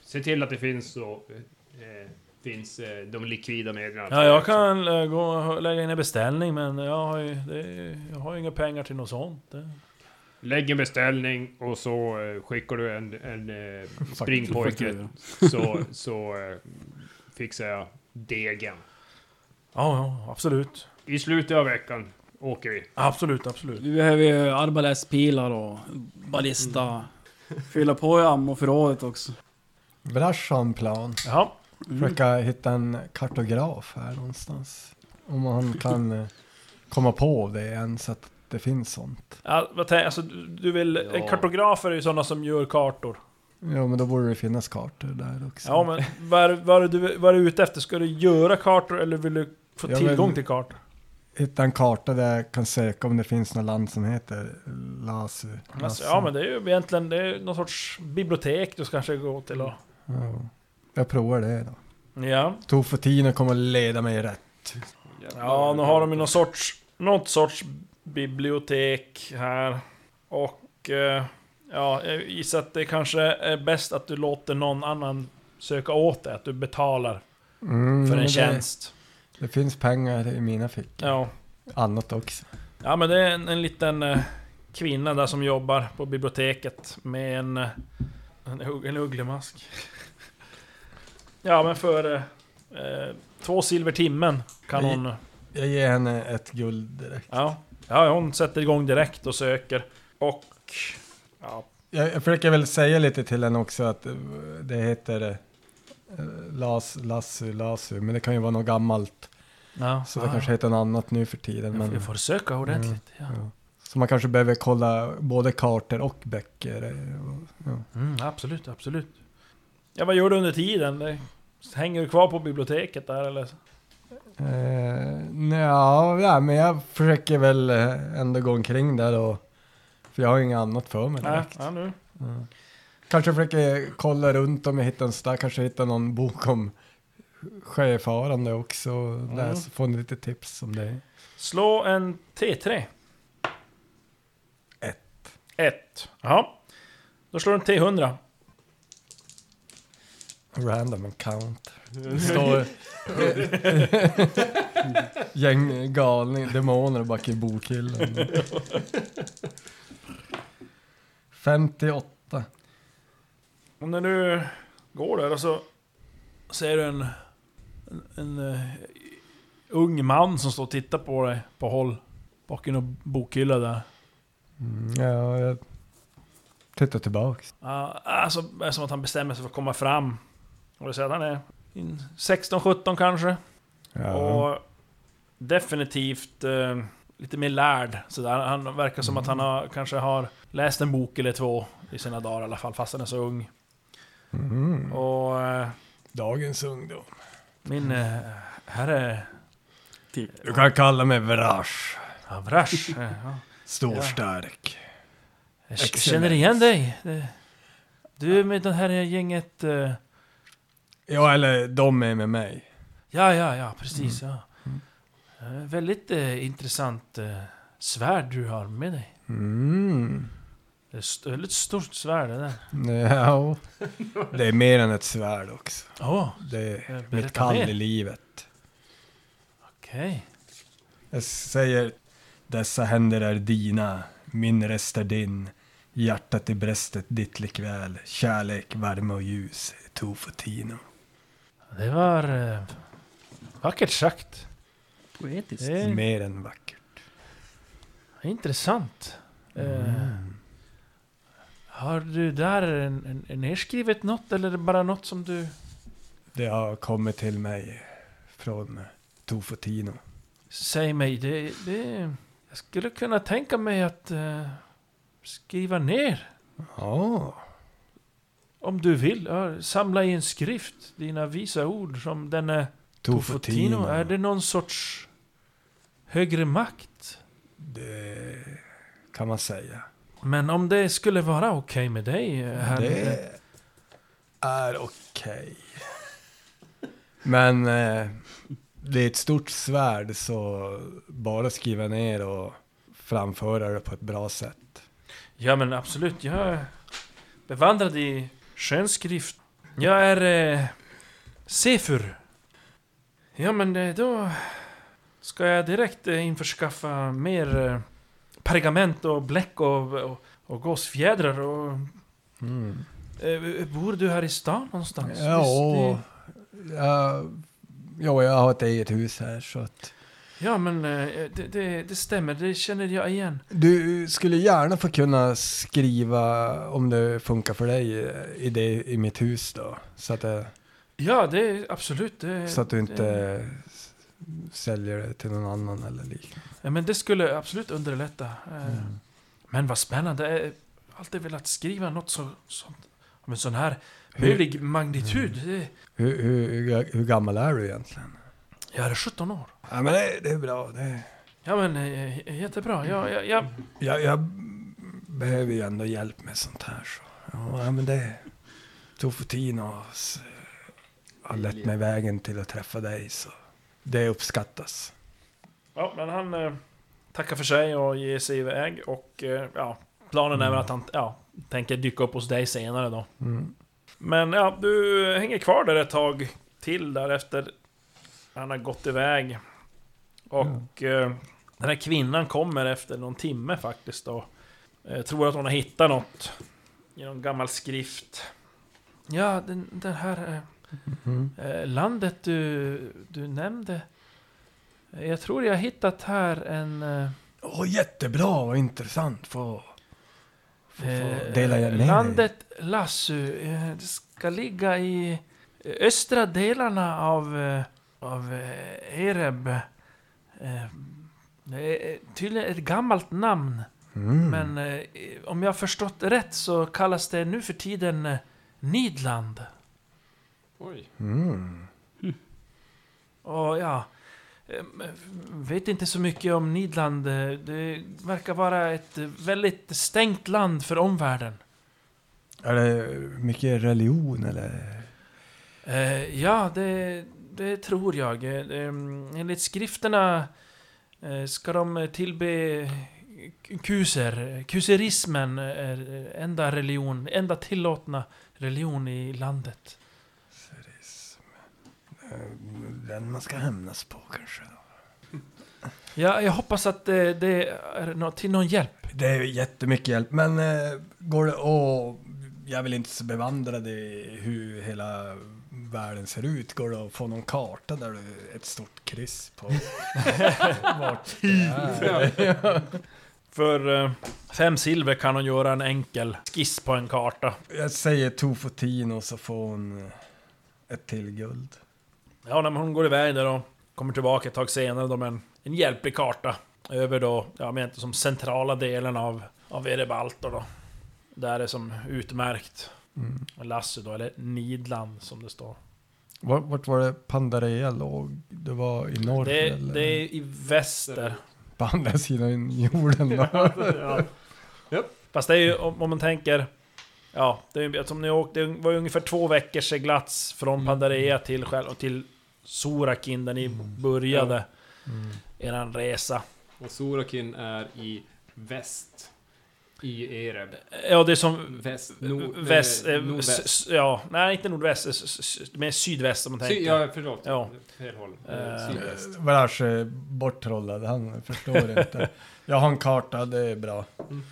[SPEAKER 8] Se till att det finns så, eh, finns eh, de likvida medlen.
[SPEAKER 3] Ja, jag kan eh, gå och lägga in en beställning men jag har ju, det, jag har ju inga pengar till något sånt. Det-
[SPEAKER 8] Lägg en beställning och så eh, skickar du en, en eh, springpojke.
[SPEAKER 4] faktura.
[SPEAKER 8] så så eh, fixar jag degen.
[SPEAKER 3] Ja, ja, absolut.
[SPEAKER 8] I slutet av veckan åker vi.
[SPEAKER 3] Absolut, absolut.
[SPEAKER 4] Vi behöver ju arbalestpilar och ballista. Fylla på i ammoförrådet också.
[SPEAKER 6] Brash har en plan.
[SPEAKER 3] Ja,
[SPEAKER 6] Försöka hitta en kartograf här någonstans. Om han kan eh, komma på det än så att det finns sånt.
[SPEAKER 3] ja vad tänk, alltså, du du vill...
[SPEAKER 7] Ja.
[SPEAKER 3] En kartograf är ju sådana som gör kartor.
[SPEAKER 6] Ja men då borde det finnas kartor där också.
[SPEAKER 3] Ja, men vad är, vad, är du, vad är du ute efter? Ska du göra kartor eller vill du få
[SPEAKER 6] Ja, men-
[SPEAKER 3] tillgång till kartor?
[SPEAKER 6] hitta en karta där jag kan söka om det finns något land som heter Lasu.
[SPEAKER 3] Alltså, ja men det är ju egentligen det är någon sorts bibliotek du ska kanske gå till och...
[SPEAKER 6] Ja. Jag provar det då.
[SPEAKER 3] Ja.
[SPEAKER 6] Tog för tiden och kommer leda mig rätt.
[SPEAKER 3] Ja, nu har de ju någon sorts, något sorts bibliotek här. Och eh, ja, jag gissar att det kanske är bäst att du låter någon annan söka åt dig. Att du betalar
[SPEAKER 6] Mm,
[SPEAKER 3] för
[SPEAKER 6] men
[SPEAKER 3] en
[SPEAKER 6] det-
[SPEAKER 3] tjänst.
[SPEAKER 6] Det finns pengar i mina fickor.
[SPEAKER 3] Ja.
[SPEAKER 6] Annat också.
[SPEAKER 3] ja, men det är en, en liten eh, kvinna där som jobbar på biblioteket med en, eh, en, ugg- en ugglemask. Ja, men för eh, eh, två silver timmen kan
[SPEAKER 6] Nej.
[SPEAKER 3] hon...
[SPEAKER 6] Jag ger henne ett guld direkt.
[SPEAKER 3] Ja, ja, hon sätter igång direkt och söker. Och... Ja,
[SPEAKER 6] Jag, jag försöker väl säga lite till henne också att eh, det heter eh, Las, Lasu, Lasu, men det kan ju vara något gammalt.
[SPEAKER 3] ja.
[SPEAKER 6] Så det
[SPEAKER 3] ja.
[SPEAKER 6] kanske Mm. heter något annat nu för tiden.
[SPEAKER 3] Men...
[SPEAKER 6] Men,
[SPEAKER 3] Du Ah. får söka ordentligt. Ja.
[SPEAKER 6] Så man kanske behöver kolla både kartor och böcker. eh, och- Ja.
[SPEAKER 3] Mm, absolut, absolut. Ja, vad gör du under tiden? Det- Hänger du kvar på biblioteket där eller?
[SPEAKER 6] Eh, nja, ja, men jag försöker väl eh, ändå gå omkring där och... För jag har ju inget annat för mig
[SPEAKER 3] Nej,
[SPEAKER 6] direkt.
[SPEAKER 3] ja, nu.
[SPEAKER 6] Ja. Kanske försöker kolla runt om jag hittar en stack, kanske hittar någon bok om sjöfarande också. och Läs, få lite tips om det.
[SPEAKER 3] Slå en T3. Ett. Ett, ja. Då slår du en T100.
[SPEAKER 6] Random encounter. [LAUGHS] Det står gäng galning, demoner bak i bokhyllan. 58.
[SPEAKER 3] Och när du går där alltså, och så ser du en, en, en eh, ung man som står och tittar på dig på håll. Bak i någon bokhylla där.
[SPEAKER 6] Mm, ja, jag tittar tillbaks.
[SPEAKER 3] Ja, alltså, det är som att han bestämmer sig för att komma fram. Och du ser att han är 16-17 kanske.
[SPEAKER 6] Ja.
[SPEAKER 3] Och definitivt eh, lite mer lärd. Sådär. Han verkar som att
[SPEAKER 6] Mm.
[SPEAKER 3] han har, kanske har läst en bok eller två i sina dagar i alla fall, fast han är så ung.
[SPEAKER 6] Mm.
[SPEAKER 3] Och eh,
[SPEAKER 6] Dagens ungdom.
[SPEAKER 3] min eh, herre...
[SPEAKER 6] Du kan kalla mig Vrash.
[SPEAKER 3] Avrash. eh, ja.
[SPEAKER 6] Stor,
[SPEAKER 3] Ja.
[SPEAKER 6] stark.
[SPEAKER 3] Jag k-
[SPEAKER 6] Excellent.
[SPEAKER 3] känner igen dig. Det- Du är med det här gänget... eh,
[SPEAKER 6] Ja, eller de är med mig.
[SPEAKER 3] Ja, ja, ja, precis. Ja. Eh, Väldigt eh, intressant eh, svärd du har med dig.
[SPEAKER 6] Mm.
[SPEAKER 3] Det är st- väldigt stort svärd det där.
[SPEAKER 6] Ja, det är mer än ett svärd också.
[SPEAKER 3] Åh,
[SPEAKER 6] Det
[SPEAKER 3] Eh,
[SPEAKER 6] är
[SPEAKER 3] berätta
[SPEAKER 6] mitt kall
[SPEAKER 3] mer.
[SPEAKER 6] i livet.
[SPEAKER 3] okej.
[SPEAKER 6] Jag säger, dessa händer är dina, min rest är din. Hjärtat i bröstet ditt likväl, kärlek, värme och ljus, Tofotino.
[SPEAKER 3] Det var eh, vackert sagt.
[SPEAKER 4] Poetiskt.
[SPEAKER 3] Det är
[SPEAKER 6] Mer än vackert.
[SPEAKER 3] intressant. Eh,
[SPEAKER 6] Mm.
[SPEAKER 3] har du där en, en, en nedskrivet något eller är det bara något som du...
[SPEAKER 6] Det har kommit till mig från Tofotino.
[SPEAKER 3] Säg mig, det, det... Jag skulle kunna tänka mig att eh, skriva ner
[SPEAKER 6] Ja,
[SPEAKER 3] om du vill. Ja, samla i en skrift dina visa ord som denne Tofotino. Är
[SPEAKER 6] Tofotino.
[SPEAKER 3] det någon sorts högre makt?
[SPEAKER 6] Det kan man säga.
[SPEAKER 3] Men om det skulle vara okej med dig, eh, herr...
[SPEAKER 6] Det är okej. Men eh, det är ett stort svärd så bara skriva ner och framföra det på ett bra sätt.
[SPEAKER 3] Ja men absolut, jag är bevandrad i skönskrift. Jag är eh, sefur. Ja men eh, då ska jag direkt eh, införskaffa mer eh, pergament och bläck och, och, och gåsfjädrar och... Eh, bor du här i stan någonstans?
[SPEAKER 6] Mm. Ja,
[SPEAKER 3] Visst,
[SPEAKER 6] och,
[SPEAKER 3] det-
[SPEAKER 6] ja, ja, jag har ett eget hus här så att
[SPEAKER 3] ja men eh, det, det, det stämmer, det känner jag igen.
[SPEAKER 6] du skulle gärna få kunna skriva om det funkar för dig i, det, i mitt hus då. Så att, det-
[SPEAKER 3] Ja, det är absolut. Det,
[SPEAKER 6] så att du inte
[SPEAKER 3] Det,
[SPEAKER 6] s- säljer det till någon annan eller liknande.
[SPEAKER 3] ja, men det skulle absolut underlätta. Eh, Men vad spännande. Eh, Jag har alltid velat skriva något så, sånt. Om en sån här
[SPEAKER 6] Hur-
[SPEAKER 3] möjlig magnitud. Eh, Det-
[SPEAKER 6] Hur, hur, hur, hur gammal är du egentligen?
[SPEAKER 3] Jag är 17 år.
[SPEAKER 6] Ja men det, det är bra. Det,
[SPEAKER 3] Ja men eh, jättebra, ja, ja, ja.
[SPEAKER 6] Jag, jag behöver ju ändå hjälp med sånt här. Så. Ja, ja, men det... Tofotin har s- har lett mig vägen till att träffa dig, så det uppskattas.
[SPEAKER 3] ja men han eh, tackar för sig och ger sig iväg och eh, ja, planen är väl att han ja, tänker dyka upp hos dig senare då.
[SPEAKER 6] Mm.
[SPEAKER 3] Men ja, du hänger kvar där ett tag till därefter han har gått iväg. Och eh, den här kvinnan kommer efter någon timme faktiskt då. Eh, tror att hon har hittat något i någon gammal skrift. Ja, den, den här... Eh, Eh, landet du, du nämnde. Eh, Jag tror jag hittat här en... eh,
[SPEAKER 6] Åh, jättebra och intressant. Få, få, få
[SPEAKER 3] eh,
[SPEAKER 6] dela med mig.
[SPEAKER 3] landet Lassu. eh, Det ska ligga i eh, östra delarna av, eh, av eh, Ereb. Eh, det är Tydligen ett gammalt namn.
[SPEAKER 6] Mm.
[SPEAKER 3] Men eh, om jag har förstått rätt så kallas det nu för tiden eh, Nidland.
[SPEAKER 7] Oj.
[SPEAKER 6] Mm.
[SPEAKER 3] Och ja, ehm, vet inte så mycket om Nidland. Eh, Det verkar vara ett eh, väldigt stängt land för omvärlden.
[SPEAKER 6] Är det mycket religion eller?
[SPEAKER 3] Eh, Ja, det, det tror jag. Eh, ehm, Enligt skrifterna eh, ska de eh, tillbe k- kuser. Kuserismen är eh, enda religion, enda tillåtna religion i landet.
[SPEAKER 6] eh, Den man ska hämnas på kanske.
[SPEAKER 3] Ja, jag hoppas att eh, det är nå- till någon hjälp.
[SPEAKER 6] Det är ju jättemycket hjälp, men eh, går det att... Jag vill inte så bevandrad i hur hela världen ser ut. Går det att få någon karta där du ett stort kryss på [LAUGHS] vart det är?
[SPEAKER 3] För eh, fem silver kan hon göra en enkel skiss på en karta.
[SPEAKER 6] Jag säger tofotin och så får hon ett till guld.
[SPEAKER 3] Ja, när hon går iväg där och kommer tillbaka ett tag senare då med en, en hjälplig karta. Över då, jag menar inte som centrala delen av, av Erebaltor då. Där är som utmärkt.
[SPEAKER 6] Mm.
[SPEAKER 3] Lasso då, eller Nidland som det står.
[SPEAKER 6] Vart, vart var det Pandareia låg? Det var i norr?
[SPEAKER 3] Det,
[SPEAKER 6] eller?
[SPEAKER 3] det är i väster.
[SPEAKER 6] På andra sidan jorden då?
[SPEAKER 3] [LAUGHS] ja. Fast det är ju om om man tänker... Ja, det, är, ju- eftersom ni åkte, det var ju ungefär två veckors seglats
[SPEAKER 6] Mm.
[SPEAKER 3] från Pandareia till, själv- och till Sorakin där ni
[SPEAKER 6] Mm.
[SPEAKER 3] började eran resa.
[SPEAKER 7] Och Sorakin är i väst. I Ereb.
[SPEAKER 3] Ja, det är som...
[SPEAKER 7] Väst, nord,
[SPEAKER 3] väst,
[SPEAKER 7] eh,
[SPEAKER 3] eh,
[SPEAKER 7] nordväst.
[SPEAKER 3] s- s- ja, nej inte nordväst, s- s- s- mer sydväst om man tänker.
[SPEAKER 7] Sy- ja, förlåt.
[SPEAKER 3] Ja.
[SPEAKER 7] Fel håll.
[SPEAKER 3] Eh,
[SPEAKER 7] Eh, Sydväst.
[SPEAKER 6] Varash är borttrollad, eh, han
[SPEAKER 7] [LAUGHS]
[SPEAKER 6] förstår inte. Jag har en karta, det är bra.
[SPEAKER 7] Mm.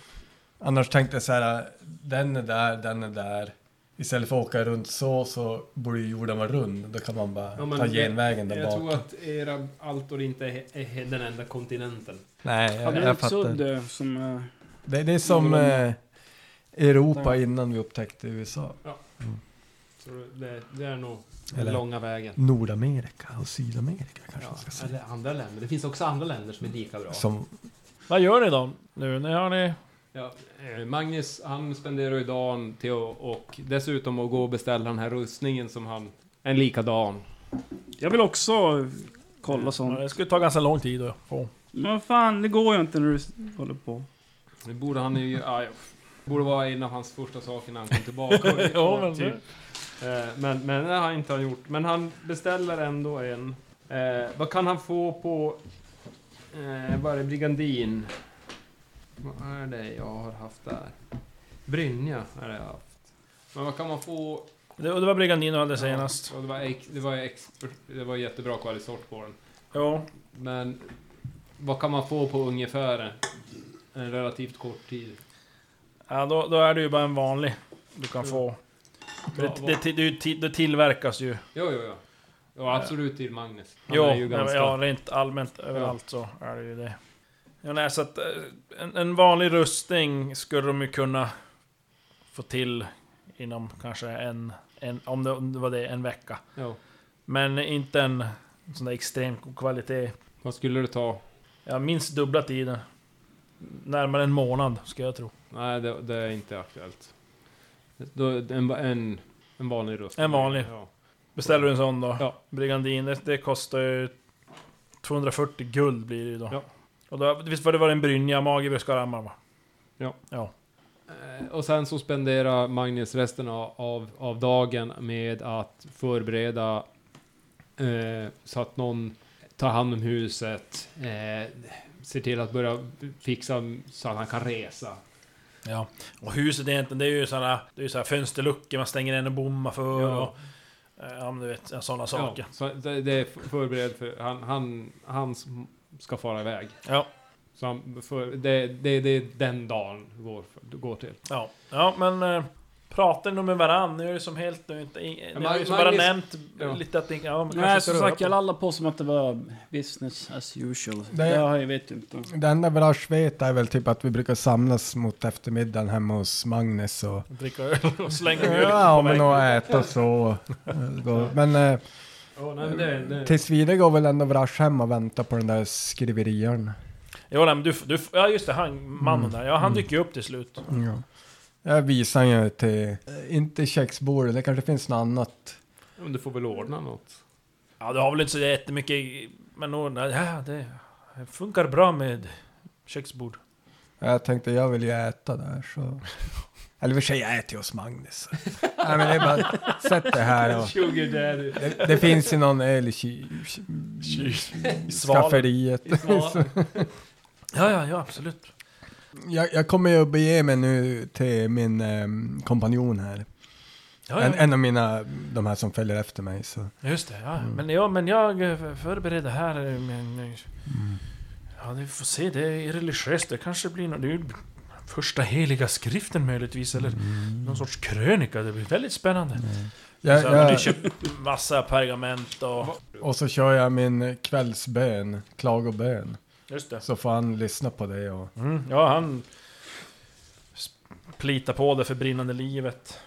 [SPEAKER 6] Annars tänkte jag så här, den är där, den är där. Istället för att åka runt så, så borde ju jorden vara rund. Då kan man bara
[SPEAKER 7] Ja, men
[SPEAKER 6] ta
[SPEAKER 7] jag-
[SPEAKER 6] genvägen där
[SPEAKER 7] Jag
[SPEAKER 6] bak.
[SPEAKER 7] tror att Ereb Altor inte är, är den enda kontinenten.
[SPEAKER 6] Nej,
[SPEAKER 4] Hade
[SPEAKER 6] jag,
[SPEAKER 4] du
[SPEAKER 6] jag
[SPEAKER 4] inte
[SPEAKER 6] fattar.
[SPEAKER 4] sudd eh, som... eh,
[SPEAKER 6] Det, det är som
[SPEAKER 7] Mm.
[SPEAKER 4] Någon-
[SPEAKER 6] eh, Europa innan vi upptäckte USA.
[SPEAKER 7] Så det, det är nog
[SPEAKER 6] Eller-
[SPEAKER 7] långa vägen.
[SPEAKER 6] Nordamerika och Sydamerika kanske man
[SPEAKER 7] Ja,
[SPEAKER 6] ska säga.
[SPEAKER 7] eller andra länder. Det finns också andra länder som är lika bra.
[SPEAKER 6] Som,
[SPEAKER 3] Vad gör ni då? Nu när har ni...
[SPEAKER 7] Ja, eh, Magnus, han spenderar ju dagen till att- och dessutom att gå och beställa den här rustningen som han... En likadan.
[SPEAKER 4] Jag vill också kolla
[SPEAKER 3] Ja,
[SPEAKER 4] sånt.
[SPEAKER 3] Det skulle ta ganska lång tid att få.
[SPEAKER 4] Men vad fan, det går ju inte när du håller på.
[SPEAKER 7] Det borde han ju... Ja, ja. Det borde vara en av hans första saker när han kom [LAUGHS] tillbaka. Och-
[SPEAKER 3] Ja, men
[SPEAKER 7] typ. Eh, men, men det har han inte gjort. Men han beställer ändå en. Eh, vad kan han få på... Eh, vad är det? Brigandin? Vad är det jag har haft där? Brynja har jag haft. Men vad kan man få
[SPEAKER 3] Det, det var Brigandino hade senast.
[SPEAKER 7] Ja, och det, var ex, det, var ex, det var jättebra kvalitet på den.
[SPEAKER 3] Ja.
[SPEAKER 7] Men vad kan man få på ungefär en relativt kort tid?
[SPEAKER 3] Ja, då, då är det ju bara en vanlig du kan få. Det, det, det, det, är ju ti- det tillverkas ju.
[SPEAKER 7] Jo, jo, jo. Ja, absolut till Magnus. Han
[SPEAKER 3] Jo,
[SPEAKER 7] är ju
[SPEAKER 3] men
[SPEAKER 7] ganska...
[SPEAKER 3] ja, rent allmänt överallt så är det ju det. Ja, nej, så att eh, en, en vanlig rustning skulle de ju kunna få till inom kanske en, en om, det, om det var det, en vecka.
[SPEAKER 7] Jo.
[SPEAKER 3] Men inte en sån där extrem kvalitet.
[SPEAKER 7] Vad skulle det ta?
[SPEAKER 3] Ja, minst dubbla tiden. Närmare en månad, ska jag tro.
[SPEAKER 7] Nej, det, det är inte aktuellt. Då, en, en, en vanlig röst.
[SPEAKER 3] En vanlig.
[SPEAKER 7] Ja.
[SPEAKER 3] Beställer du en sån då?
[SPEAKER 7] Ja.
[SPEAKER 3] Brigandin, det, det kostar ju 240 guld blir det ju då.
[SPEAKER 7] Ja.
[SPEAKER 3] Och då, visst var det var en brynja, mage, skarhammar va?
[SPEAKER 7] Ja.
[SPEAKER 3] Ja.
[SPEAKER 7] Eh, Och sen så spenderar Magnus resten av, av, av dagen med att förbereda eh, så att någon tar hand om huset, eh, ser till att börja fixa så att han kan resa.
[SPEAKER 3] Ja, och huset egentligen, det är ju sådana, det är ju sådana fönsterluckor man stänger in och bommar för
[SPEAKER 7] Ja.
[SPEAKER 3] och... eh, Ja, men du vet, sådana saker.
[SPEAKER 7] Ja, så det, det är förberedd för, han, han, han ska fara iväg.
[SPEAKER 3] Ja.
[SPEAKER 7] Så han, för, det, det, det är den dagen går, går till.
[SPEAKER 3] Ja, ja men... eh, Pratar ni nog med varann? Nu är det som helt... Nu, är inte, ni har ju
[SPEAKER 7] Mag-
[SPEAKER 3] som bara
[SPEAKER 7] Magnus-
[SPEAKER 3] nämnt
[SPEAKER 7] Ja.
[SPEAKER 3] lite att... ni- Ja, men
[SPEAKER 4] Nej, som sagt, jag
[SPEAKER 3] jag
[SPEAKER 4] lallade på som att det var business as usual. Det,
[SPEAKER 6] Det-
[SPEAKER 4] jag vet inte.
[SPEAKER 6] Det enda Brash vet är väl typ att vi brukar samlas mot eftermiddagen hemma hos Magnus och
[SPEAKER 3] Dricka öl och slänga mjölk
[SPEAKER 6] Ja,
[SPEAKER 3] på
[SPEAKER 6] men
[SPEAKER 3] vägen.
[SPEAKER 6] och äta så. Gå- Men eh,
[SPEAKER 7] nej, men det- det-
[SPEAKER 6] tills vidare går väl ändå Brash hem och väntar på den där skriverian.
[SPEAKER 3] Jo, nej, men du, du... Ja, just det, han, mannen
[SPEAKER 6] Mm.
[SPEAKER 3] där. Ja, han
[SPEAKER 6] Mm.
[SPEAKER 3] dyker ju upp till slut.
[SPEAKER 6] Ja. Jag visar ju till, eh, inte köksbordet, det kanske finns något annat.
[SPEAKER 7] Men du får väl ordna något.
[SPEAKER 3] Ja, du har väl inte så jättemycket... Men nog... nej, Ja, det funkar bra med köksbord.
[SPEAKER 6] Jag tänkte jag vill ju äta där så. Eller i och för sig, jag äter ju
[SPEAKER 7] [LAUGHS]
[SPEAKER 6] hos Magnus. Nej men det är bara, sätt det här och.
[SPEAKER 7] Sugar daddy.
[SPEAKER 6] Det, det finns ju någon öl i ky-
[SPEAKER 3] I svalen.
[SPEAKER 6] skafferiet.
[SPEAKER 3] I svalen. Ja, ja, ja, absolut.
[SPEAKER 6] Jag, jag kommer ju att bege mig nu till min ehm, kompanjon här.
[SPEAKER 3] Ja, ja,
[SPEAKER 6] En, en av mina, de här som följer efter mig. Så.
[SPEAKER 3] Ja, Just det, ja.
[SPEAKER 6] Mm.
[SPEAKER 3] Men, ja, men jag eh, förbereder här eh, men... eh,
[SPEAKER 6] Mm.
[SPEAKER 3] Ja, vi får se. Det är religiöst. Det kanske blir något... Det är ju första heliga skriften möjligtvis, eller
[SPEAKER 6] Mm.
[SPEAKER 3] någon sorts krönika. Det blir väldigt spännande.
[SPEAKER 6] Jag,
[SPEAKER 3] så jag har
[SPEAKER 6] jag,
[SPEAKER 3] köpt massa pergament och...
[SPEAKER 6] och så kör jag min kvällsbön, klagobön.
[SPEAKER 3] Just det.
[SPEAKER 6] Så får han lyssna på det. Och,
[SPEAKER 3] Mm, ja, han... s- Plitar på det för brinnande livet.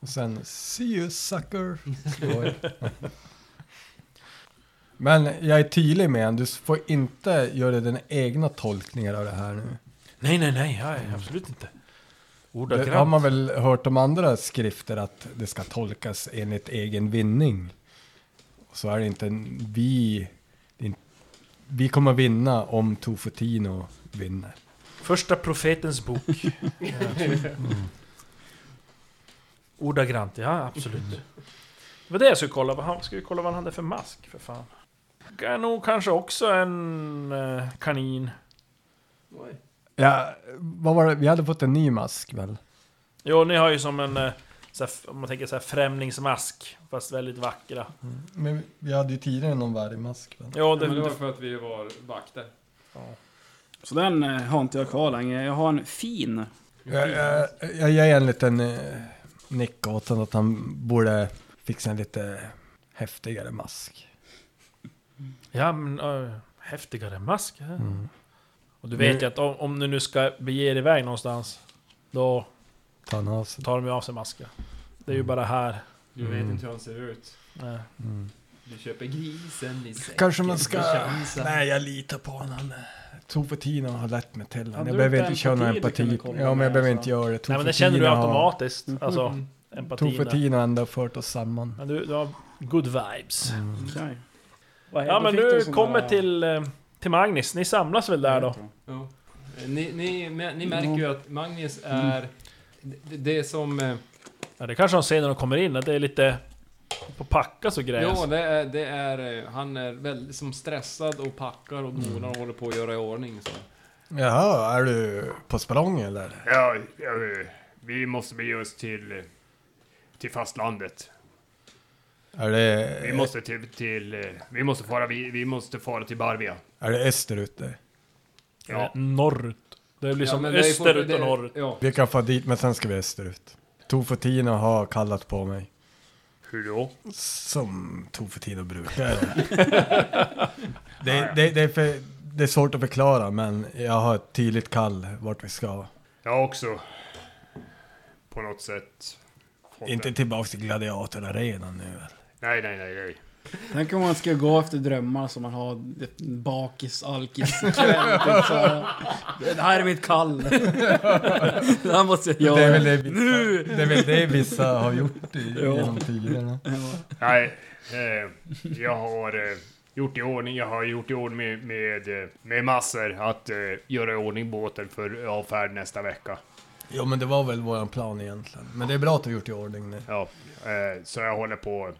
[SPEAKER 6] och sen, see you sucker. [LAUGHS] slår jag. Men jag är tydlig med en, du får inte göra dina egna tolkningar av det här nu.
[SPEAKER 3] Nej, nej, nej. Ja, absolut inte.
[SPEAKER 6] Det har
[SPEAKER 3] Ordagrant.
[SPEAKER 6] man väl hört om andra skrifter att det ska tolkas enligt egen vinning. Så är det inte en, vi. det är inte- Vi kommer vinna om Tofutino vinner.
[SPEAKER 3] Första profetens bok.
[SPEAKER 7] [LAUGHS]
[SPEAKER 3] Ja, absolut. Ordagrant, ja absolut. Det var det jag skulle kolla. Vad han- Skulle kolla vad han hade för mask, för fan. Det är nog kanske också en eh, kanin.
[SPEAKER 6] Ja, vad var det? Vi hade fått en ny mask väl?
[SPEAKER 3] Jo, ni har ju som en... eh, Så här, om man tänker så här främlingsmask, fast väldigt vackra.
[SPEAKER 6] Men vi hade ju tidigare någon vargmask väl?
[SPEAKER 3] Jo,
[SPEAKER 7] Ja,
[SPEAKER 3] det,
[SPEAKER 7] men det var för att vi var vakter.
[SPEAKER 4] Så den eh, har inte jag kvar längre. Jag har en
[SPEAKER 6] Mm.
[SPEAKER 4] fin.
[SPEAKER 6] Jag, jag, jag ger en liten eh, nick åt honom att han borde fixa en lite häftigare mask.
[SPEAKER 3] Ja, men eh, häftigare mask. ja.
[SPEAKER 7] Mm.
[SPEAKER 6] Mm.
[SPEAKER 3] Och du vet ju att om, om du nu ska bege er iväg någonstans, då
[SPEAKER 6] Tar han av sig.
[SPEAKER 3] tar de ju av sig masken. Det är
[SPEAKER 7] Mm.
[SPEAKER 3] ju bara här. eh,
[SPEAKER 7] Du vet inte hur han ser ut.
[SPEAKER 3] Nej.
[SPEAKER 7] Du köper grisen i säcken.
[SPEAKER 6] Kanske man ska...
[SPEAKER 7] för chansen.
[SPEAKER 6] Nej, jag litar på honom. Tofutino har lett mig till
[SPEAKER 7] Hade
[SPEAKER 6] honom.
[SPEAKER 7] du
[SPEAKER 6] Jag behöver
[SPEAKER 7] inte
[SPEAKER 6] inte köra någon
[SPEAKER 7] empati du kunde
[SPEAKER 6] empati.
[SPEAKER 7] kolla
[SPEAKER 6] Ja, men
[SPEAKER 7] med,
[SPEAKER 6] jag behöver
[SPEAKER 7] alltså?
[SPEAKER 6] inte göra det.
[SPEAKER 3] Nej men det känner du
[SPEAKER 6] har-
[SPEAKER 3] automatiskt. Alltså,
[SPEAKER 7] Mm.
[SPEAKER 3] empatin. där.
[SPEAKER 6] Tofutino har ändå fört oss samman.
[SPEAKER 3] Men du, du har good vibes.
[SPEAKER 7] Mm.
[SPEAKER 4] Okej.
[SPEAKER 3] Ja men du kommer till, eh, till Magnus, ni samlas väl där då?
[SPEAKER 7] Mm. Ja. Ni, ni, ni märker ju att Magnus är... Det, det som...
[SPEAKER 3] Mm.
[SPEAKER 7] eh,
[SPEAKER 3] Ja, det kanske de ser när de kommer in, att det är lite på packas och grejer.
[SPEAKER 7] Ja, det är, det är... eh, Han är väldigt som stressad och packar och
[SPEAKER 3] Mm.
[SPEAKER 7] donar och håller på att göra i ordning. Så.
[SPEAKER 6] Jaha, är du på språng eller?
[SPEAKER 8] Ja, ja, vi måste bege oss till, till fastlandet.
[SPEAKER 6] Är det,
[SPEAKER 8] Vi måste till, till eh, vi måste fara, vi, vi måste fara till Barbia.
[SPEAKER 6] är det österut det?
[SPEAKER 8] Ja.
[SPEAKER 3] Norrut. Det blir
[SPEAKER 7] Ja,
[SPEAKER 3] som
[SPEAKER 7] men det är ju fort-
[SPEAKER 3] österut och
[SPEAKER 7] det-
[SPEAKER 3] norrut.
[SPEAKER 7] Ja. [LAUGHS]
[SPEAKER 6] Vi kan få dit, men sen ska vi österut. Tofutino har kallat på mig.
[SPEAKER 8] Hur då?
[SPEAKER 6] Som Tofutino brukar. [LAUGHS] det, det, det, är för, det är svårt att förklara, men jag har ett tydligt kall vart vi ska.
[SPEAKER 8] Jag har också på något sätt fått
[SPEAKER 6] Inte
[SPEAKER 8] en-
[SPEAKER 6] tillbaks till gladiatorarenan nu väl?
[SPEAKER 8] Nej, nej, nej, nej.
[SPEAKER 4] Tänk om man ska gå efter drömmar som man har det- bakis, alkis, kväll. typ så. Det här är mitt kall. Det här måste jag göra.
[SPEAKER 6] Det är väl det vissa, det är väl det vissa [LAUGHS] har gjort i, genom tiderna.
[SPEAKER 8] Nej, eh, jag har... Eh, gjort i ordning, jag har gjort i ordning med, med, eh, med massor att eh, göra i ordning båten för avfärd nästa vecka.
[SPEAKER 6] Jo, men det var väl våran plan egentligen. Men det är bra att du gjort i ordning nu.
[SPEAKER 8] Ja, eh, så jag håller på.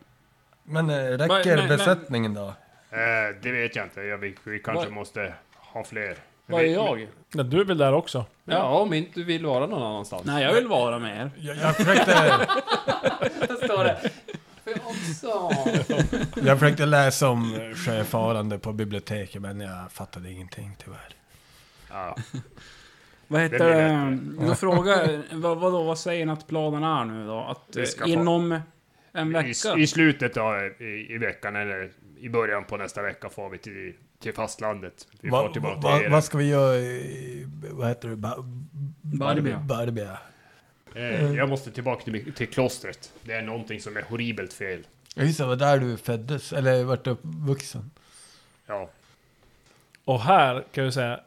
[SPEAKER 6] Men eh,
[SPEAKER 8] Men-
[SPEAKER 6] räcker
[SPEAKER 8] men- men-
[SPEAKER 6] besättningen då?
[SPEAKER 8] Eh, det vet jag inte, jag, vi, vi kanske
[SPEAKER 7] Vad-
[SPEAKER 8] måste ha fler.
[SPEAKER 7] Vad är
[SPEAKER 8] Vi-
[SPEAKER 7] jag?
[SPEAKER 3] Ja, du är väl där också?
[SPEAKER 7] Ja, om inte du vill vara någon annanstans.
[SPEAKER 4] Nej, jag vill vara med er.
[SPEAKER 6] Jag, jag försökte...
[SPEAKER 10] Där står det. Får jag också?
[SPEAKER 6] [LAUGHS] Jag försökte läsa om eh, sjöfarande på biblioteket men jag fattade ingenting tyvärr.
[SPEAKER 8] Ja.
[SPEAKER 4] Vad
[SPEAKER 8] Det
[SPEAKER 4] heter
[SPEAKER 8] blir
[SPEAKER 4] det? Då frågar vad, vadå, vad säger ni att planen är nu då? Att
[SPEAKER 8] Vi ska
[SPEAKER 4] eh, inom en
[SPEAKER 8] I,
[SPEAKER 4] vecka?
[SPEAKER 8] I slutet av i, i veckan eller i början på nästa vecka får vi till, till fastlandet. Vi
[SPEAKER 6] Va-
[SPEAKER 8] får tillbaka
[SPEAKER 6] va-
[SPEAKER 8] till er.
[SPEAKER 6] vad ska vi göra i... Vad heter det? Ba-
[SPEAKER 4] Barbia.
[SPEAKER 6] Barbia.
[SPEAKER 8] Eh, jag måste tillbaka till, till klostret. Det är någonting som är horribelt fel.
[SPEAKER 6] Ja just det, var där du föddes, eller vart uppvuxen.
[SPEAKER 8] Ja.
[SPEAKER 3] Och här kan vi säga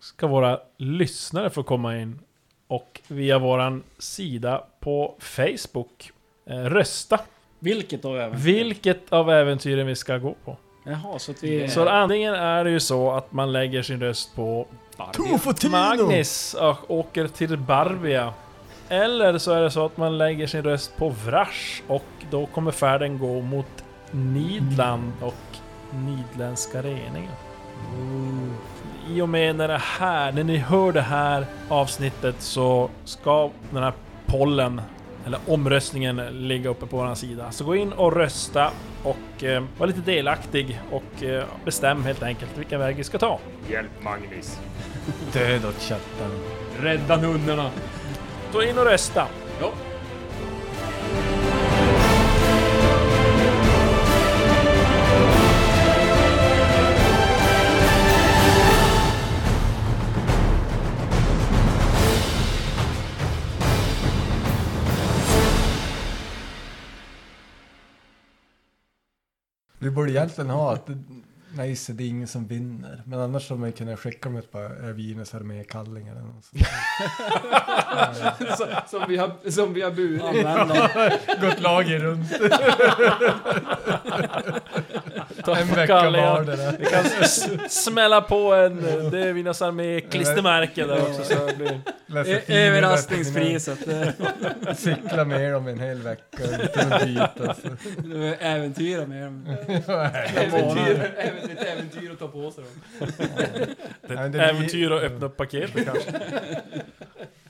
[SPEAKER 3] ska våra lyssnare få komma in och via våran sida på Facebook eh, rösta
[SPEAKER 7] Mm.
[SPEAKER 4] Vilket då även?
[SPEAKER 3] vilket av äventyren vi ska gå på.
[SPEAKER 4] Jaha, så att vi...
[SPEAKER 3] Så antingen är det ju så att man lägger sin röst på
[SPEAKER 6] Tofotino!
[SPEAKER 3] Magnus och åker till Barbia. Eller så är det så att man lägger sin röst på Vrash och då kommer färden gå mot Nidland och Nidländska reningen. I och med när det här, när ni hör det här avsnittet så ska den här pollen eller omröstningen ligga uppe på vår sida. Så gå in och rösta och eh, var lite delaktig och eh, bestäm helt enkelt vilken väg vi ska ta.
[SPEAKER 8] Hjälp Magnus.
[SPEAKER 6] Död åt chatten.
[SPEAKER 7] Rädda nunnorna.
[SPEAKER 3] Så in och rösta!
[SPEAKER 6] Vi borde egentligen ha att... Nej, så det är ingen som vinner. Men annars skulle man kunna skicka dem ett par Ervinus armékallingar eller något sånt.
[SPEAKER 7] Så- som, vi har, som vi har burit.
[SPEAKER 4] Använd dem.
[SPEAKER 6] Gått lager runt. en vecka
[SPEAKER 3] kallingar.
[SPEAKER 6] var det där.
[SPEAKER 3] Vi kan s- smälla på en... eh, Det är Vinnars armé-klistermärke där också. Så det blir...
[SPEAKER 6] Läsa
[SPEAKER 4] Ö-
[SPEAKER 6] tidningar,
[SPEAKER 4] Överraskningspriset.
[SPEAKER 6] läsa tidningar, Cykla med dem en hel vecka. utan att byta, så.
[SPEAKER 4] [LAUGHS]
[SPEAKER 6] [LAUGHS]
[SPEAKER 4] Det var Äventyra med dem.
[SPEAKER 7] Äventyr, även, ett äventyr att ta på sig dem.
[SPEAKER 6] Nej, men det blir-
[SPEAKER 3] Äventyr och öppna upp paketet kanske.